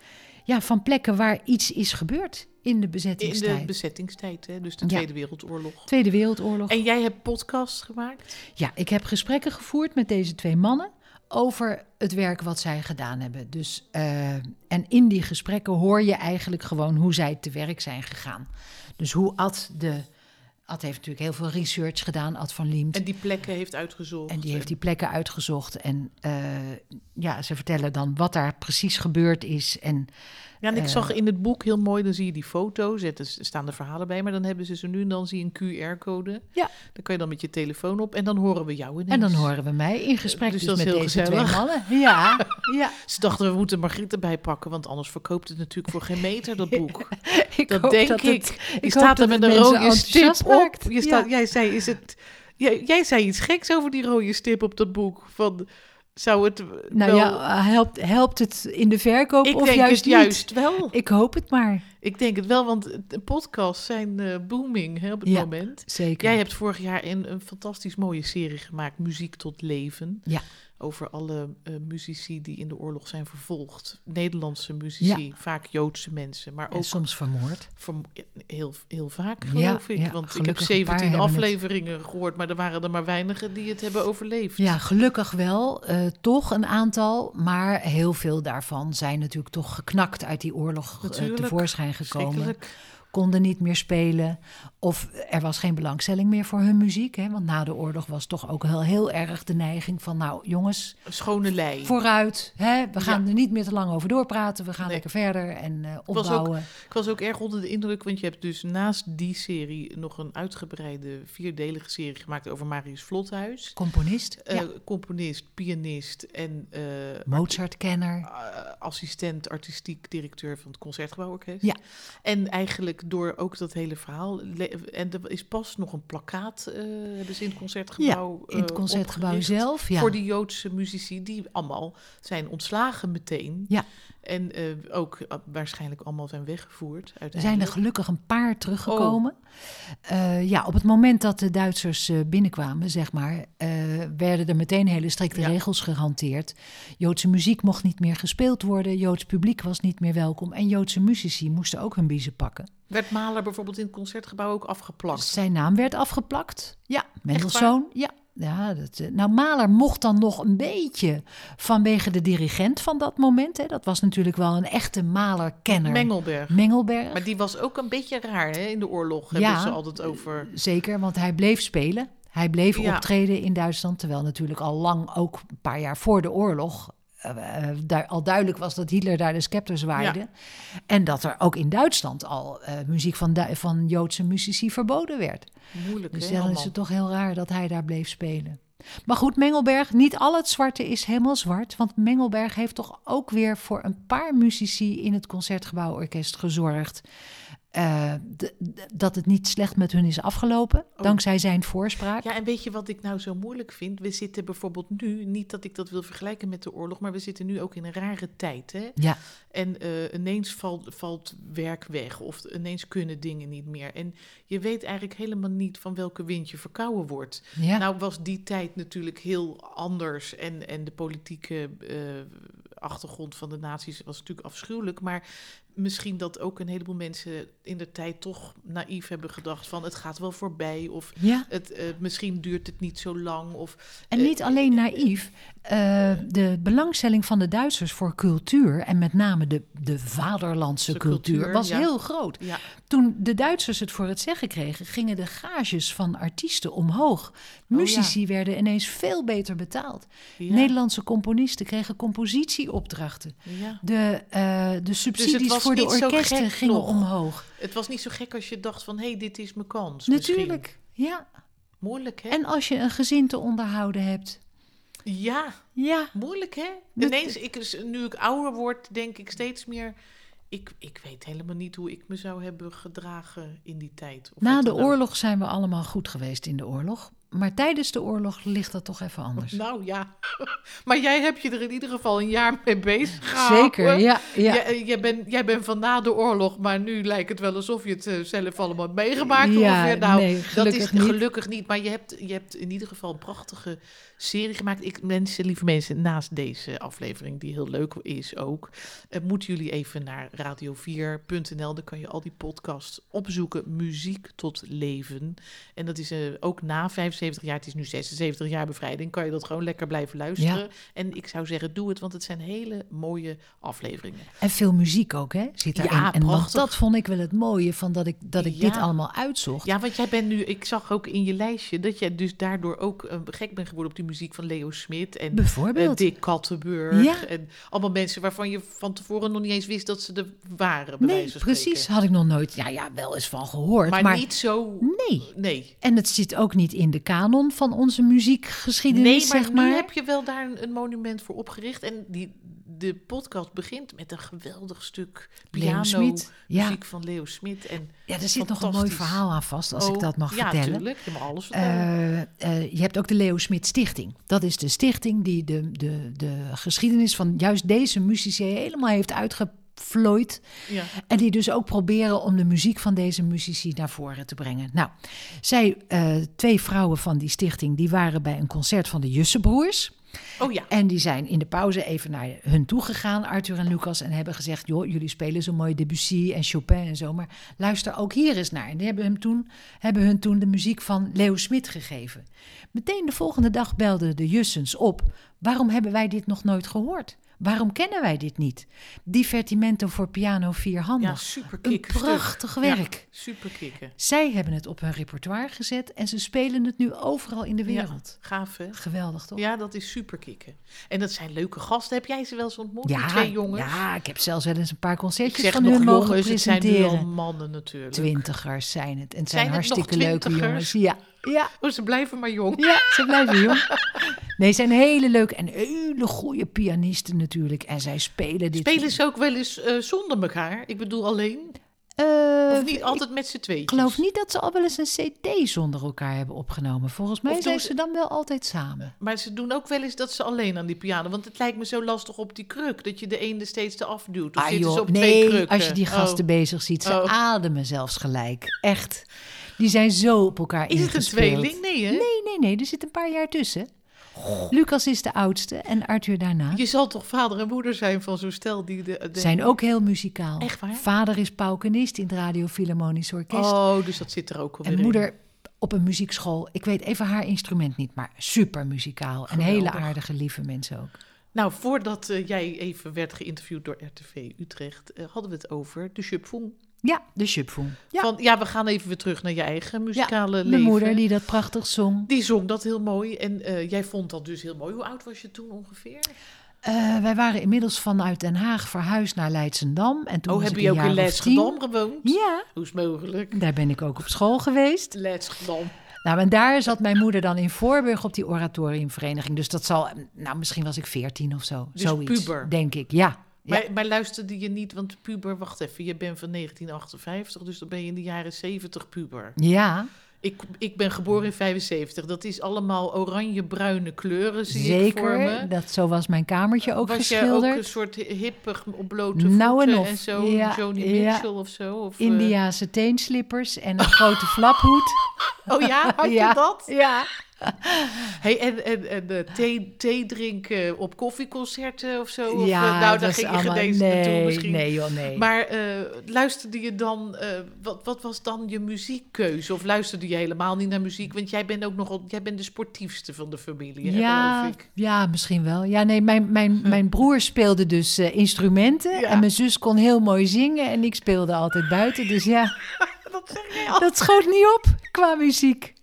Ja, van plekken waar iets is gebeurd in de In de bezettingstijd. bezettingstijd, hè? dus de Ja. Tweede Wereldoorlog. Tweede Wereldoorlog. En jij hebt podcasts gemaakt? Ja, ik heb gesprekken gevoerd met deze twee mannen over het werk wat zij gedaan hebben. Dus, eh, en in die gesprekken hoor je eigenlijk gewoon hoe zij te werk zijn gegaan. Dus hoe Ad de... Ad heeft natuurlijk heel veel research gedaan, Ad van Liemt. En die plekken heeft uitgezocht? En die heeft die plekken uitgezocht. En eh, ja, ze vertellen dan wat daar precies gebeurd is. En Ja, en ik eh, zag in het boek heel mooi, dan zie je die foto's, er staan de verhalen bij, maar dan hebben ze ze nu en dan zie je een QR-code. Ja. Dan kan je dan met je telefoon op en dan horen we jou ineens. En dan horen we mij in gesprek Dus dus dat is met heel deze gezellig. twee mannen. Ja, ja. Ze dachten, we moeten Margriet erbij pakken, want anders verkoopt het natuurlijk voor geen meter, dat boek. Ik Dat hoop denk dat ik. het- je hoop staat er dat het met een mensen rode stip enthousiast op. maakt. Je Ja. staat, jij, zei, is het, jij, jij zei iets geks over die rode stip op dat boek. Van, zou het Nou wel... ja, helpt, helpt het in de verkoop ik of denk juist het niet? juist wel. Ik hoop het maar, Ik denk het wel, want de podcasts zijn eh, booming hè, op het Ja. moment. zeker. Jij hebt vorig jaar een, een fantastisch mooie serie gemaakt, Muziek tot Leven. Ja. Over alle eh, muzici die in de oorlog zijn vervolgd. Nederlandse muzici, vaak Joodse mensen, maar En ook soms vermoord. Verm- heel, heel vaak, Ja, geloof ik. ja, Want ik heb gelukkig een paar 17 hebben het. afleveringen gehoord, maar er waren er maar weinigen die het hebben overleefd. Ja, gelukkig wel. eh, toch een aantal, maar heel veel daarvan zijn natuurlijk toch geknakt uit die oorlog eh, Natuurlijk. tevoorschijn gekomen. Schrikkelijk. Konden niet meer spelen. Of er was geen belangstelling meer voor hun muziek. Hè? Want na de oorlog was toch ook heel, heel erg de neiging van... nou jongens, Een schone lei. vooruit. Hè? We gaan Ja. er niet meer te lang over doorpraten. We gaan Nee. lekker verder en eh ook- opbouwen. Ik was ook erg onder de indruk, want je hebt dus naast die serie nog een uitgebreide vierdelige serie gemaakt over Marius Vlothuis. Componist, Eh, ja. Componist, pianist en eh, Mozart-kenner. eh, assistent artistiek directeur van het Concertgebouworkest. Ja. En eigenlijk door ook dat hele verhaal. le- En er is pas nog een plakkaat eh, hebben ze in het Concertgebouw. in het eh, concertgebouw opgericht zelf. Ja. Voor die Joodse muzici die allemaal zijn ontslagen meteen. Ja. En eh, ook eh, waarschijnlijk allemaal zijn weggevoerd. Er zijn er Uiteindelijk. gelukkig een paar teruggekomen. Oh. Eh, ja, op het moment dat de Duitsers eh, binnenkwamen, zeg maar, eh, werden er meteen hele strikte Ja. regels gehanteerd. Joodse muziek mocht niet meer gespeeld worden, Joods publiek was niet meer welkom en Joodse muzici moesten ook hun biezen pakken. Werd Mahler bijvoorbeeld in het Concertgebouw ook afgeplakt. Zijn naam werd afgeplakt. Ja, Mendelssohn. Ja. Ja, dat, eh, nou, Mahler mocht dan nog een beetje vanwege de dirigent van dat moment. Hè. Dat was natuurlijk wel een echte Mahler-kenner. Mengelberg. Mengelberg. Maar die was ook een beetje raar hè? in de oorlog. Ja. Hebben ze altijd over. Zeker, want hij bleef spelen. Hij bleef Ja. optreden in Duitsland. Terwijl natuurlijk al lang, ook een paar jaar voor de oorlog, eh, eh, du- al duidelijk was dat Hitler daar de scepter zwaaide. En dat er ook in Duitsland al eh, muziek van, Du- van Joodse muzici verboden werd. Moeilijk. Dus hè, dan is allemaal. het toch heel raar dat hij daar bleef spelen. Maar goed, Mengelberg, niet al het zwarte is helemaal zwart. Want Mengelberg heeft toch ook weer voor een paar muzici in het Concertgebouworkest gezorgd. eh, d- d- dat het niet slecht met hun is afgelopen, dankzij zijn voorspraak. Oh. Ja, en weet je wat ik nou zo moeilijk vind? We zitten bijvoorbeeld nu, niet dat ik dat wil vergelijken met de oorlog, maar we zitten nu ook in een rare tijd. Hè? Ja. En eh, ineens valt, valt werk weg of ineens kunnen dingen niet meer. En je weet eigenlijk helemaal niet van welke wind je verkouden wordt. ja. Nou was die tijd natuurlijk heel anders en, en de politieke eh, achtergrond van de nazi's was natuurlijk afschuwelijk. Maar misschien dat ook een heleboel mensen in de tijd toch naïef hebben gedacht van het gaat wel voorbij of ja. het, eh, misschien duurt het niet zo lang. Of, eh, En niet alleen naïef. eh, de belangstelling van de Duitsers voor cultuur, en met name de, de vaderlandse De cultuur, cultuur, was ja. heel groot. ja, Toen de Duitsers het voor het zeggen kregen, gingen de gages van artiesten Oh, omhoog. Muzici werden ineens veel beter betaald. ja, Nederlandse componisten kregen compositieopdrachten. ja. De, eh, de subsidies Dus was voor de niet zo orkesten gek gingen nog. omhoog. Het was niet zo gek als je dacht van, hé, hey, dit is mijn kans. misschien. Natuurlijk, ja. Moeilijk, hè? En als je een gezin te onderhouden hebt. Ja, Ja, moeilijk, hè? Dat- Ineens, ik, dus, nu ik ouder word, denk ik steeds meer... Ik, ik weet helemaal niet hoe ik me zou hebben gedragen in die tijd. Of nou- na wat de dan ook. oorlog zijn we allemaal goed geweest in de oorlog. Maar tijdens de oorlog ligt dat toch even anders. Nou ja, maar jij hebt je er in ieder geval een jaar mee bezig gehouden. Zeker, ja. ja. Jij, jij bent, jij bent van na de oorlog, maar nu lijkt het wel alsof je het eh, zelf allemaal hebt meegemaakt. Ja, ongeveer. Nou, nee, gelukkig dat is niet. gelukkig niet. Maar je hebt, je hebt in ieder geval een prachtige serie gemaakt. Ik, mensen, lieve mensen, naast deze aflevering, die heel leuk is ook, eh, moeten jullie even naar radio4.nl. Daar kan je al die podcasts opzoeken. Muziek tot leven. En dat is eh, ook na 75 jaar, het is nu 76 jaar bevrijding, kan je dat gewoon lekker blijven luisteren. En ik zou zeggen, doe het, want het zijn hele mooie afleveringen. En veel muziek ook, hè? Zit Ja, daarin. en want prachtig. dat vond ik wel het mooie van dat ik, dat ik dit Ja. allemaal uitzocht. Ja, want jij bent nu, ik zag ook in je lijstje dat jij dus daardoor ook eh, gek bent geworden op die muziek van Leo Smit en eh, Bijvoorbeeld. Dick Kattenburg. Ja. En allemaal mensen waarvan je van tevoren nog niet eens wist dat ze er waren. Bij nee, wijze van precies. spreken. Had ik nog nooit, ja, ja, wel eens van gehoord. Maar, Maar, niet zo. nee. Nee. En het zit ook niet in de kanon van onze muziekgeschiedenis, Nee, maar, zeg maar. nu heb je wel daar een, een monument voor opgericht. En die, de podcast begint met een geweldig stuk Leo piano Smit, ja. muziek van Leo Smit. En, Ja, er zit nog een mooi Fantastisch. verhaal aan vast, als ik Oh, dat mag ja, vertellen. tuurlijk. Je mag alles vertellen. Eh, eh, je hebt ook de Leo Smit Stichting. Dat is de stichting die de, de, de geschiedenis van juist deze muzici helemaal heeft uitgevlooid. ja. En die dus ook proberen om de muziek van deze muzici naar voren te brengen. Nou, zij, eh, twee vrouwen van die stichting, die waren bij een concert van de Jussebroers. Oh ja. En die zijn in de pauze even naar hun toe gegaan, Arthur en Lucas, en hebben gezegd: joh, jullie spelen zo mooi Debussy en Chopin en zo, maar luister ook hier eens naar. En die hebben, hem toen, hebben hun toen de muziek van Leo Smit gegeven. Meteen de volgende dag belden de Jussens op: waarom hebben wij dit nog nooit gehoord? Waarom kennen wij dit niet? Divertimento voor piano Ja, vierhandig. superkick. Een stuk. prachtig Ja, werk. superkicken. Zij hebben het op hun repertoire gezet en ze spelen het nu overal in de wereld. Ja, gaaf, hè? Geweldig toch? Ja, dat is superkicken. En dat zijn leuke gasten. Heb jij ze wel eens ontmoet? die Ja, twee jongens. ja, ik heb zelfs wel eens een paar ik concertjes zeg van nog hun mogen jongens, het zijn nu al presenteren. mannen natuurlijk. Twintigers zijn het. En het zijn, Zijn het nog hartstikke leuke jongens. twintigers? Ja, ja, Oh, ze blijven maar jong. ja, ze blijven jong. Nee, ze zijn hele leuke en hele goede pianisten natuurlijk. En zij spelen dit. Spelen ze ook wel eens eh, zonder elkaar? Ik bedoel alleen? Eh, Of niet altijd met z'n tweeën? Ik geloof niet dat ze al wel eens een cd zonder elkaar hebben opgenomen. Volgens mij Of doen zijn ze- ze dan wel altijd samen. Maar ze doen ook wel eens dat ze alleen aan die piano. Want het lijkt me zo lastig op die kruk. Dat je de ene steeds eraf duwt. Of Ah, zitten ze joh, op twee nee, krukken? als je die gasten Oh. bezig ziet, ze Oh. ademen zelfs gelijk. Echt. Die zijn zo op elkaar Is het een ingespeeld. tweeling? Nee, hè? Nee, nee, nee. Er zit een paar jaar tussen. Lucas is de oudste en Arthur daarna. Je zal toch vader en moeder zijn van zo'n stel die de... de- Zijn ook heel muzikaal. Echt waar? Vader is paukenist in het Radio Philharmonisch Orkest. Oh, dus dat zit er ook alweer en in. moeder op een muziekschool. Ik weet even haar instrument niet, maar super muzikaal. En hele Geweldig. aardige, lieve mensen ook. Nou, voordat eh, jij even werd geïnterviewd door RTV Utrecht, eh, hadden we het over de Chupfong. Ja, de Chupfoen. Ja, Van ja, we gaan even weer terug naar je eigen muzikale de leven. moeder die dat prachtig zong. Die zong dat heel mooi en eh, jij vond dat dus heel mooi. Hoe oud was je toen ongeveer? Eh, wij waren inmiddels vanuit Den Haag verhuisd naar Leidsendam. En toen oh, was heb ik je een ook jaar in of Leidschendam tien. gewoond? Ja, Hoe is mogelijk? daar ben ik ook op school geweest. Leidschendam. Nou, en daar zat mijn moeder dan in Voorburg op die oratoriumvereniging. Dus dat zal, nou, misschien was ik veertien of zo. Dus zoiets, puber. denk ik. Ja. Ja. Maar, maar luisterde je niet, want puber, wacht even, je bent van 1958, dus dan ben je in de jaren 70 puber. ja, Ik, ik ben geboren in 75, dat is allemaal oranje-bruine kleuren, zie ik voor me. zeker. Dat, zo was mijn kamertje ook was jij ook een geschilderd. soort hippig op blote Nou en voeten of. en, zo, Ja, Joni ja. Mitchell of zo? Of, eh, Indiaanse teenslippers en een grote flaphoed. oh ja, had Ja. je dat? Ja. Hey, en en, en eh, thee, thee drinken op koffieconcerten of zo? Of, eh, ja, nou, daar dat was ging je allemaal- genezen naartoe nee, misschien. Nee, joh, nee. Maar eh, luisterde je dan, eh, wat, wat was dan je muziekkeuze? Of luisterde je helemaal niet naar muziek? Want jij bent ook nogal, jij bent de sportiefste van de familie, hè, ja, geloof ik. ja, misschien wel. Ja, nee, mijn, mijn, mijn broer speelde dus eh, instrumenten. Ja. En mijn zus kon heel mooi zingen. En ik speelde altijd buiten. Dus ja. Dat zeg jij al. Dat schoot niet op qua muziek.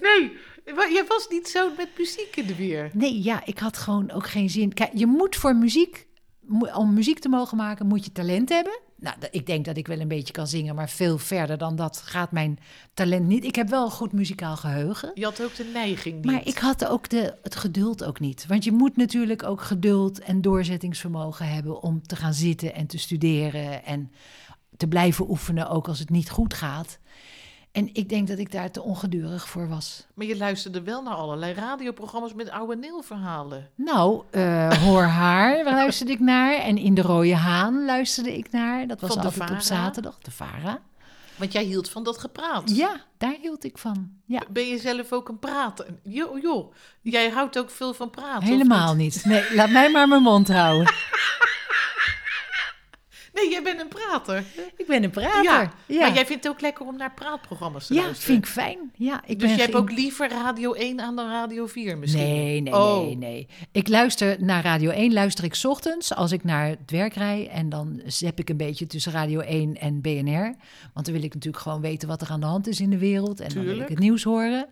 Nee, maar jij was niet zo met muziek in de weer. Nee, ja, ik had gewoon ook geen zin. Kijk, je moet voor muziek, mo- om muziek te mogen maken, moet je talent hebben. Nou, dat- ik denk dat ik wel een beetje kan zingen, maar veel verder dan dat gaat mijn talent niet. Ik heb wel een goed muzikaal geheugen. Je had ook de neiging niet. Maar ik had ook de, het geduld ook niet. Want je moet natuurlijk ook geduld en doorzettingsvermogen hebben om te gaan zitten en te studeren en te blijven oefenen, ook als het niet goed gaat. En ik denk dat ik daar te ongedurig voor was. Maar je luisterde wel naar allerlei radioprogramma's met oude neelverhalen. Nou, eh, Hoor Haar waar luisterde ik naar. En In de Rode Haan luisterde ik naar. Dat was Van de altijd op Vara? zaterdag. De Vara. Want jij hield van dat gepraat. Ja, daar hield ik van. Ja, Ben je zelf ook een prater? Joh, joh, jij houdt ook veel van praten. of helemaal niet? niet. Nee, laat mij maar mijn mond houden. Nee, jij bent een prater. Ik ben een prater. Ja, Ja, maar jij vindt het ook lekker om naar praatprogramma's te Ja, luisteren. vind ik fijn. Ja, ik dus ben jij hebt geen- ook liever Radio 1 aan dan Radio 4 misschien? Nee, nee, Oh. nee, nee. Ik luister naar Radio 1, luister ik 's ochtends als ik naar het werk rijd. En dan zep ik een beetje tussen Radio 1 en BNR. Want dan wil ik natuurlijk gewoon weten wat er aan de hand is in de wereld. En dan wil ik Tuurlijk. het nieuws horen.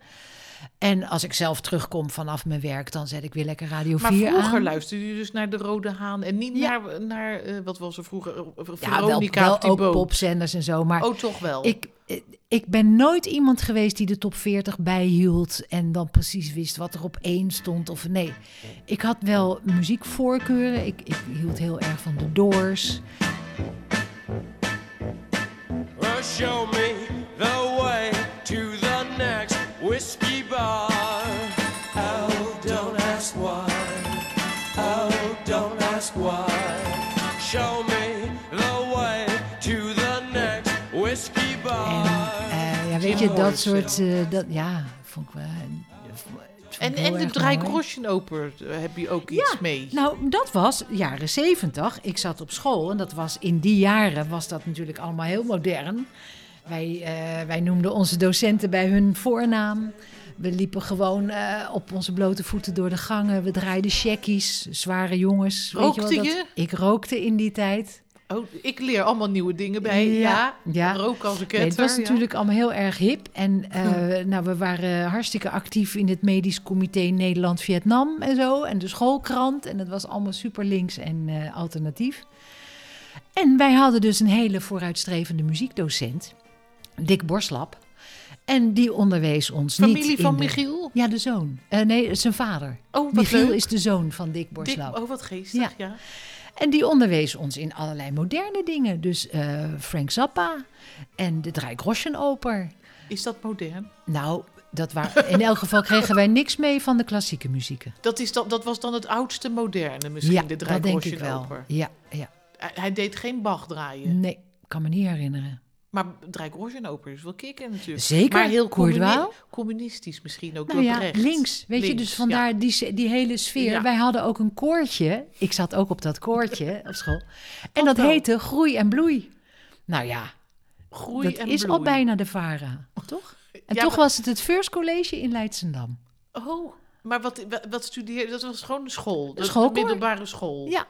En als ik zelf terugkom vanaf mijn werk, dan zet ik weer lekker Radio Maar 4 vroeger aan. luisterde je dus naar de Rode Haan en niet Ja. naar, naar eh, wat was er vroeger? Eh, ja, wel, Veronica wel of Thibaut. ook popzenders en zo. Maar Oh, toch wel. ik, ik ben nooit iemand geweest die de top 40 bijhield en dan precies wist wat er op één stond. Of nee, ik had wel muziekvoorkeuren. Ik, ik hield heel erg van de Doors. Well, Uh, show me the way to the next whiskey bar. Oh, don't ask why. Oh, don't ask why. Show me the way to the next whiskey En bar. eh, ja, weet je, dat soort. eh, dat, ja, vond ik wel. eh, en en de Draaikroschenoper heb je ook iets mee. Nou, dat was jaren 70. Ik zat op school en dat was in die jaren was dat natuurlijk allemaal heel modern. Wij, eh, wij noemden onze docenten bij hun voornaam. We liepen gewoon eh, op onze blote voeten door de gangen. We draaiden checkies, zware jongens. Rookte je? Ik rookte in die tijd. Oh, ik leer allemaal nieuwe dingen bij. Ja, nou- Ja, ja. rook als een Nee, het ketter. was ja. natuurlijk allemaal heel erg hip. En eh, nou, we waren hartstikke actief in het Medisch Comité Nederland-Vietnam en zo. En de schoolkrant. En dat was allemaal super links en eh, alternatief. En wij hadden dus een hele vooruitstrevende muziekdocent, Dick Borslap. En die onderwees ons niet Familie in van de- Michiel. Ja, de zoon. Eh, nee, zijn vader. Oh, wat Michiel leuk. is de zoon van Dick Dik- Borslap. oh, wat geestig, ja. En die onderwees ons in allerlei moderne dingen. Dus eh, Frank Zappa en de Draaikroschenoper. Is dat modern? Nou, dat waar. in elk geval kregen wij niks mee van de klassieke muzieken. Dat, is dan, dat was dan het oudste moderne misschien, de dat denk ik wel. Mm. Draaikroschenoper. Ja, ja. Hij, hij deed geen Bach draaien. Nee, kan me niet herinneren. Maar Draaikroschenoper is wel kicken natuurlijk. Zeker, Dus- Maar heel Koerdois. communi- communistisch misschien ook Nou wel ja, recht. links. Weet je, Links, dus vandaar die, se- die hele sfeer. Ja. Wij hadden ook een koortje. Ik zat ook op dat koortje op school. En dat wel. heette Groei en Bloei. Nou ja, ja. Groei dat en is al bloei. bijna de VARA, toch? En Ja, toch maar- was het het First College in Leidsendam. Oh, maar wat, wat, wat studeerde... Dat was gewoon een school. Dat schoolkoor. Een middelbare school. Ja,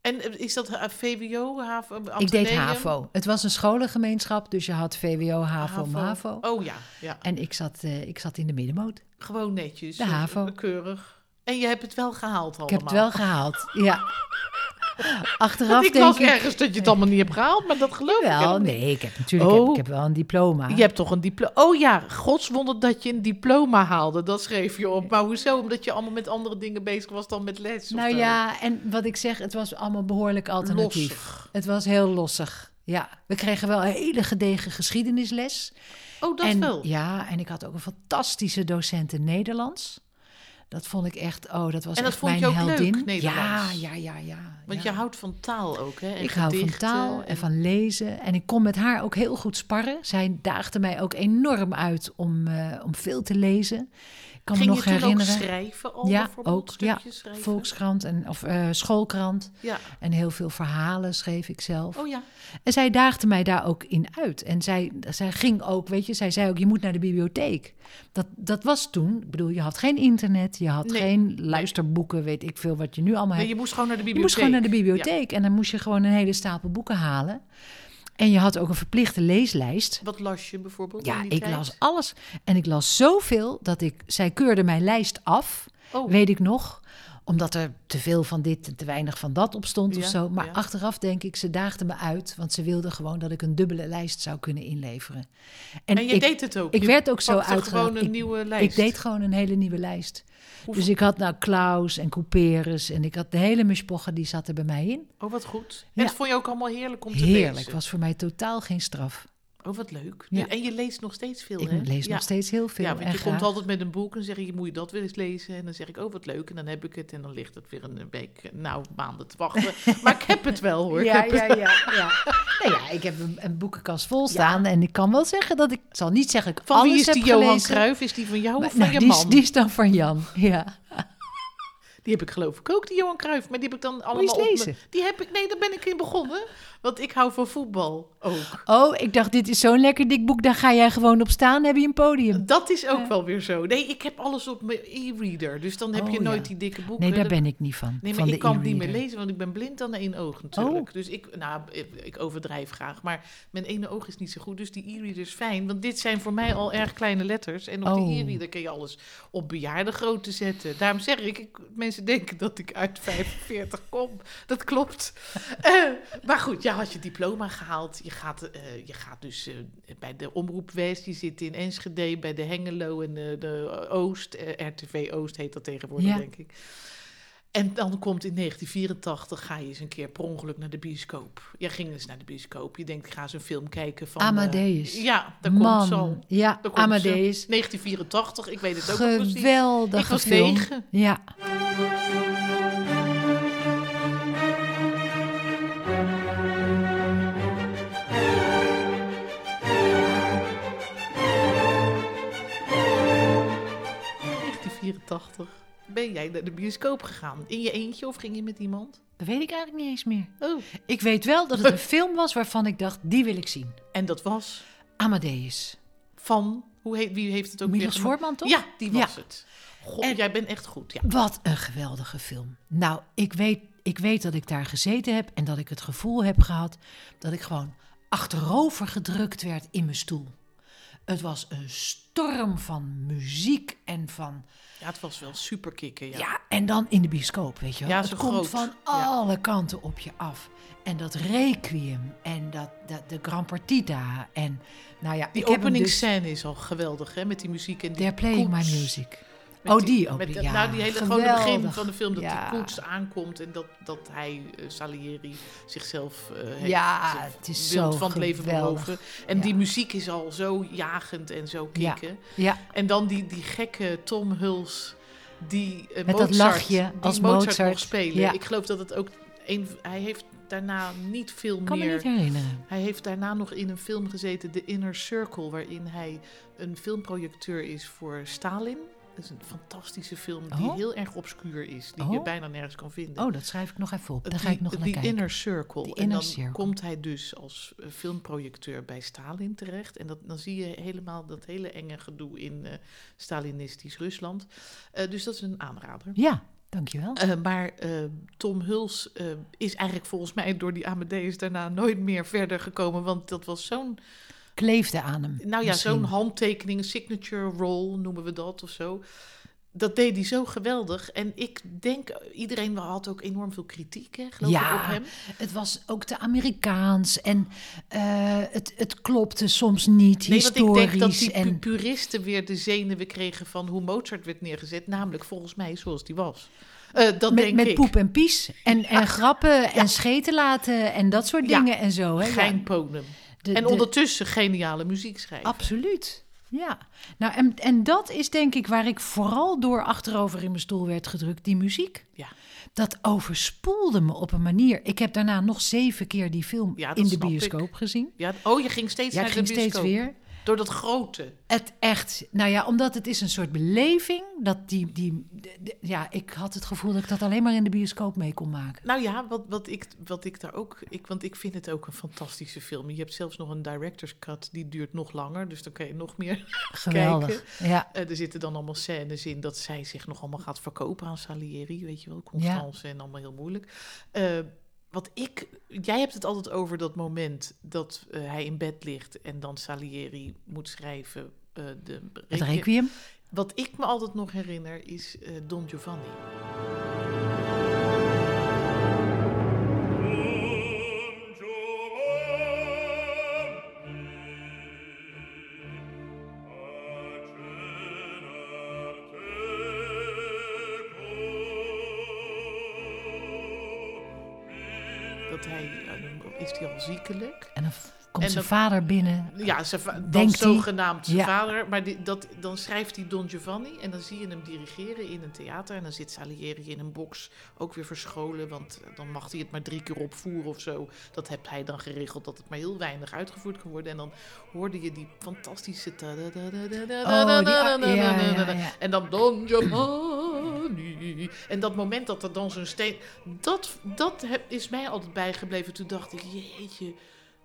En eh, is dat eh, VWO, HAVO, ik deed Atheneum? HAVO. Het was een scholengemeenschap, dus je had VWO, HAVO, MAVO. Oh ja, ja. En ik zat, eh, ik zat in de middenmoot. Gewoon netjes. De eh, HAVO. Keurig. En je hebt het wel gehaald allemaal. Ik heb het wel gehaald. Ja. Want Achteraf ik denk las ik. ergens dat je het allemaal niet hebt gehaald, maar dat geloof ik helemaal Wel, niet. nee, ik heb natuurlijk ik heb, Oh. ik heb wel een diploma. Je hebt toch een diploma? Oh ja, godswonder dat je een diploma haalde. Dat schreef je op. Maar hoezo? Omdat je allemaal met andere dingen bezig was dan met les. of eh, nou zo. ja, en wat ik zeg, het was allemaal behoorlijk alternatief. Lossig. Het was heel lossig. Ja, we kregen wel een hele gedegen geschiedenisles. Oh, dat en, wel. Ja, en ik had ook een fantastische docent in Nederlands. Dat vond ik echt, oh, dat was En dat echt vond je mijn ook leuk, heldin. ja, Nederlands? ja, ja, ja. Want ja. je houdt van taal ook, hè? En Ik hou van gedichten taal en van lezen. En ik kon met haar ook heel goed sparren. Zij daagde mij ook enorm uit om, eh, om veel te lezen. Ik kan Ging me je nog toen herinneren. ook schrijven al? ja, bijvoorbeeld? ook. Ja, Stukjes schrijven? Volkskrant en, of eh, schoolkrant. Ja. En heel veel verhalen schreef ik zelf. Oh ja. En zij daagde mij daar ook in uit. En zij, zij ging ook, weet je, zij zei ook, je moet naar de bibliotheek. Dat, dat was toen, ik bedoel, je had geen internet, je had Nee. geen luisterboeken, weet ik veel wat je nu allemaal Nee, hebt. je moest gewoon naar de bibliotheek. Je moest gewoon naar de bibliotheek en dan moest je gewoon een hele stapel boeken halen. En je had ook een verplichte leeslijst. Ja. Wat las je bijvoorbeeld? Ja, in die ik tijd? las alles. En ik las zoveel dat ik, zij keurde mijn lijst af, Oh. weet ik nog omdat er te veel van dit en te weinig van dat op stond of Ja, zo. Maar ja. achteraf denk ik, ze daagde me uit. Want ze wilde gewoon dat ik een dubbele lijst zou kunnen inleveren. En je ik- deed het ook. Ik Je werd ook zo pakte uitgedaagd. gewoon een Ik- nieuwe lijst. Ik deed gewoon een hele nieuwe lijst. Hoeveel- Dus ik had nou Klaus en Couperus. En ik had de hele mushpochen, die zat er bij mij in. Oh, wat goed. En Ja. dat vond je ook allemaal heerlijk om te lezen. Heerlijk, was voor mij totaal geen straf. Oh, wat leuk. Ja. En je leest nog steeds veel, Ik hè? lees ja. nog steeds heel veel. Ja, want en je komt graag. altijd met een boek en zeg je, moet je dat weer eens lezen? En dan zeg ik, oh wat leuk, en dan heb ik het. En dan ligt het weer een week, nou, maanden te wachten. maar ik heb het wel, hoor. Ik Ja, heb het- ja, ja, ja. nou ja, ik heb een, een boekenkast vol staan en ik kan wel zeggen dat ik... Ik zal niet zeggen dat ik Van alles wie is heb die Johan gelezen. Cruijff? Is die van jou Maar- of van nou, je die, is, man? die is dan van Jan, ja. Die heb ik geloof ik ook, die Johan Cruijff. Maar die heb ik dan allemaal eens op me- lezen. Die heb ik, nee, daar ben ik in begonnen. Want ik hou van voetbal ook. Oh, ik dacht, dit is zo'n lekker dik boek, daar ga jij gewoon op staan, heb je een podium. Dat is ook wel weer zo. Nee, ik heb alles op mijn e-reader. Dus dan heb Oh, je nooit ja. die dikke boeken. Nee, daar Dan- ben ik niet van, eh, Nee, maar van de Oh. ik kan niet meer e-reader. lezen, want ik ben blind aan één oog natuurlijk. Dus ik, nou, ik- ik overdrijf graag. Maar mijn ene oog is niet zo goed, dus die e-reader is fijn. Want dit zijn voor mij al erg kleine letters. En op Oh. de e-reader kun je alles op bejaardengrootte zetten. Daarom zeg ik, ik, mensen denken dat ik uit 45 kom. Dat klopt. Eh, maar goed, ja, had je diploma gehaald. Je gaat, eh, je gaat dus eh, bij de Omroep West, je zit in Enschede, bij de Hengelo en eh, de Oost. eh, RTV Oost heet dat tegenwoordig, Ja. denk ik. En dan komt in 1984, ga je eens een keer per ongeluk naar de bioscoop. Jij ging eens naar de bioscoop. Je denkt, ik ga eens een film kijken van... eh, Amadeus. ja, daar Man, komt ze al. ja, Daar komt Amadeus. ze. 1984, ik weet het ook nog precies. Geweldige Ik was film. negen. Ja. In 1984 ben jij naar de bioscoop gegaan. In je eentje of ging je met iemand? Dat weet ik eigenlijk niet eens meer. Oh. Ik weet wel dat het een film was waarvan ik dacht, die wil ik zien. En dat was Amadeus. van... Hoe heet, wie heeft het ook Milos weer gemaakt? Forman, toch? Ja, die was Ja. het. God, jij bent echt goed, ja. Wat een geweldige film. Nou, ik weet, ik weet dat ik daar gezeten heb en dat ik het gevoel heb gehad dat ik gewoon achterover gedrukt werd in mijn stoel. Het was een storm van muziek en van. Ja, het was wel superkicken, Ja, ja. en dan in de bioscoop, weet je wel. Ja, het zo komt groot. van Ja. alle kanten op je af. En dat Requiem en dat, dat, de Gran Partita. En nou ja, Die ik heb hem dus- openingsscène is al geweldig, hè? Met die muziek en die They're playing koets. my music. Met oh, die met opening. dat- ja, nou, die hele gewoon het begin geweldig. van de film dat Ja. die koets aankomt en dat, dat hij, eh, Salieri, zichzelf eh heeft, Ja, zich het is wild zo van het leven geweldig. beroven. En Ja. die muziek is al zo jagend en zo Ja. kicken. Ja, En dan die, die gekke Tom Hulse, die eh, dat Mozart, lachje die als Mozart, Mozart. mocht spelen. Ja. Ik geloof dat het ook, een, hij heeft daarna niet veel kan me meer... niet herinneren. Hij heeft daarna nog in een film gezeten, The Inner Circle, waarin hij een filmprojecteur is voor Stalin. Dat is een fantastische film die Oh. heel erg obscuur is, die je Oh. bijna nergens kan vinden. Oh, dat schrijf ik nog even op. Daar ga Die- ik nog naar die kijken. Inner Circle. Die en Inner dan Circle. komt hij dus als eh, filmprojecteur bij Stalin terecht. En dat, dan zie je helemaal dat hele enge gedoe in eh, Stalinistisch Rusland. Eh, dus dat is een aanrader. Ja, dankjewel. Eh, maar eh, Tom Huls eh, is eigenlijk volgens mij door die Amadeus daarna nooit meer verder gekomen. Want dat was zo'n Kleefde aan hem. nou ja, misschien. zo'n handtekening, een signature roll noemen we dat of zo. Dat deed hij zo geweldig. En ik denk, iedereen had ook enorm veel kritiek, hè, geloof Ja. ik, op hem. Het was ook te Amerikaans en eh, het, het klopte soms niet Nee, want ik historisch. denk dat die pu- en, puristen weer de zenuwen kregen van hoe Mozart werd neergezet. Namelijk volgens mij zoals die was. Eh, dat met denk met ik. Ah, poep en pies en, en grappen en scheten laten en dat soort Ja. dingen en zo. Hè? Ja, Geinponem. de- En de- ondertussen geniale muziek schrijven. Absoluut. Ja, nou en, en dat is denk ik waar ik vooral door achterover in mijn stoel werd gedrukt, die muziek. Ja. Dat overspoelde me op een manier. Ik heb daarna nog zeven keer die film Ja, dat in de snap ik. bioscoop gezien. Ja, oh, je ging steeds Ja, ik naar ging de steeds bioscoop. weer. Door dat grote. Het echt, nou ja, omdat het is een soort beleving. Dat die, die, de- de- ja, ik had het gevoel dat ik dat alleen maar in de bioscoop mee kon maken. Nou ja, wat, wat, ik, wat ik daar ook. Ik, want ik vind het ook een fantastische film. Je hebt zelfs nog een director's cut, die duurt nog langer. Dus dan kan je nog meer. Geweldig. Ja, Eh, er zitten dan allemaal scènes in dat zij zich nog allemaal gaat verkopen aan Salieri. Weet je wel, Constance en allemaal heel moeilijk. Eh, wat ik. Jij hebt het altijd over dat moment dat eh, hij in bed ligt en dan Salieri moet schrijven. eh, de het requiem. requiem. Wat ik me altijd nog herinner is eh, Don Giovanni. Dat hij. eh, is hij al ziekelijk? eh, En dan v- Komt En zijn dat- vader binnen. Ja, zijn va- dan Denkt hij- zogenaamd zijn Ja. vader. Maar die, dat, dan schrijft hij Don Giovanni en dan zie je hem dirigeren in een theater. En dan zit Salieri in een box, ook weer verscholen. Want eh, dan mag hij het maar drie keer opvoeren of zo. Dat heeft hij dan geregeld, dat het maar heel weinig uitgevoerd kan worden. En dan hoorde je die fantastische... Oh, die- ja, ja, ja. En dan Don Giovanni. En dat moment dat er dan zo'n steen... Dat, dat heb- is mij altijd bijgebleven. Toen dacht ik, jeetje...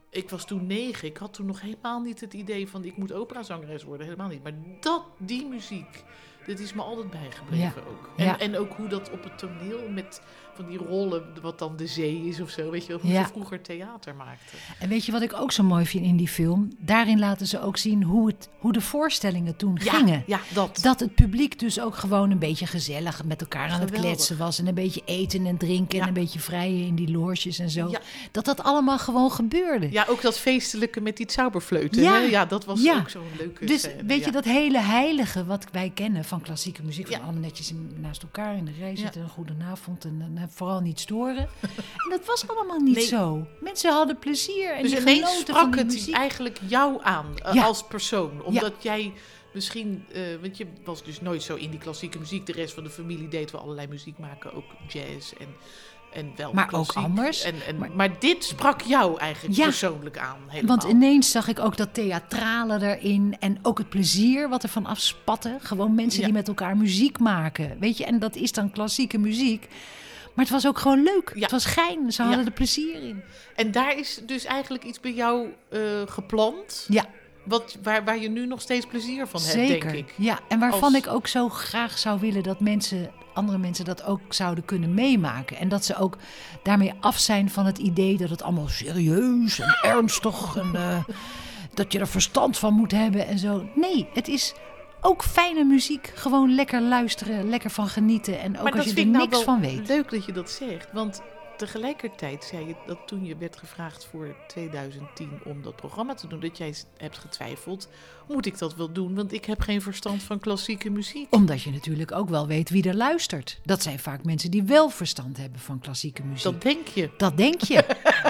Ik was toen negen. Ik had toen nog helemaal niet het idee van ik moet operazangeres worden. Helemaal niet. Maar dat, die muziek, dit is me altijd bijgebleven ook. En, Ja. en ook hoe dat op het toneel met van die rollen, wat dan de zee is of zo. Weet je wel, hoe Ja. ze vroeger theater maakten. En weet je wat ik ook zo mooi vind in die film? Daarin laten ze ook zien hoe, het, hoe de voorstellingen toen gingen. Ja, ja, dat. Dat het publiek dus ook gewoon een beetje gezellig met elkaar aan het Geweldig. kletsen was. En een beetje eten en drinken Ja. en een beetje vrijen in die loges en zo. Ja. Dat dat allemaal gewoon gebeurde. Ja, ook dat feestelijke met die zauberfleuten. Ja. Ja, ja dat was Ja. ook zo'n leuke Dus scène, weet ja. je, dat hele heilige wat wij kennen van klassieke muziek, van Ja. allemaal netjes in- naast elkaar in de rij Ja. zitten, een goedenavond en, en vooral niet storen. en dat was allemaal niet Nee. zo. Mensen hadden plezier en Dus die ineens genoten van sprak die het muziek. eigenlijk jou aan eh, Ja. als persoon. Omdat jij misschien, eh, want je was dus nooit zo in die klassieke muziek. De rest van de familie deed wel allerlei muziek maken, ook jazz en, en wel Maar ook klassiek. anders. En, en, Maar- maar, dit sprak jou eigenlijk Ja. persoonlijk aan helemaal. Want ineens zag ik ook dat theatrale erin en ook het plezier wat er van afspatte. Gewoon mensen Ja. die met elkaar muziek maken, weet je. En dat is dan klassieke muziek. Maar het was ook gewoon leuk. Ja. Het was gein. Ze Ja. hadden er plezier in. En daar is dus eigenlijk iets bij jou eh, geplant. Ja, Wat, waar, waar je nu nog steeds plezier van hebt, zeker. denk ik. Ja, en waarvan Als- ik ook zo graag zou willen dat mensen, andere mensen dat ook zouden kunnen meemaken. En dat ze ook daarmee af zijn van het idee dat het allemaal serieus en ernstig en eh, dat je er verstand van moet hebben en zo. Nee, het is ook fijne muziek. Gewoon lekker luisteren, lekker van genieten. En ook als je er ik nou niks wel van weet. Leuk dat je dat zegt. Want tegelijkertijd zei je dat toen je werd gevraagd voor 2010 om dat programma te doen, dat jij s- hebt getwijfeld: moet ik dat wel doen? Want ik heb geen verstand van klassieke muziek. Omdat je natuurlijk ook wel weet wie er luistert. Dat zijn vaak mensen die wel verstand hebben van klassieke muziek. Dat denk je. Dat denk je.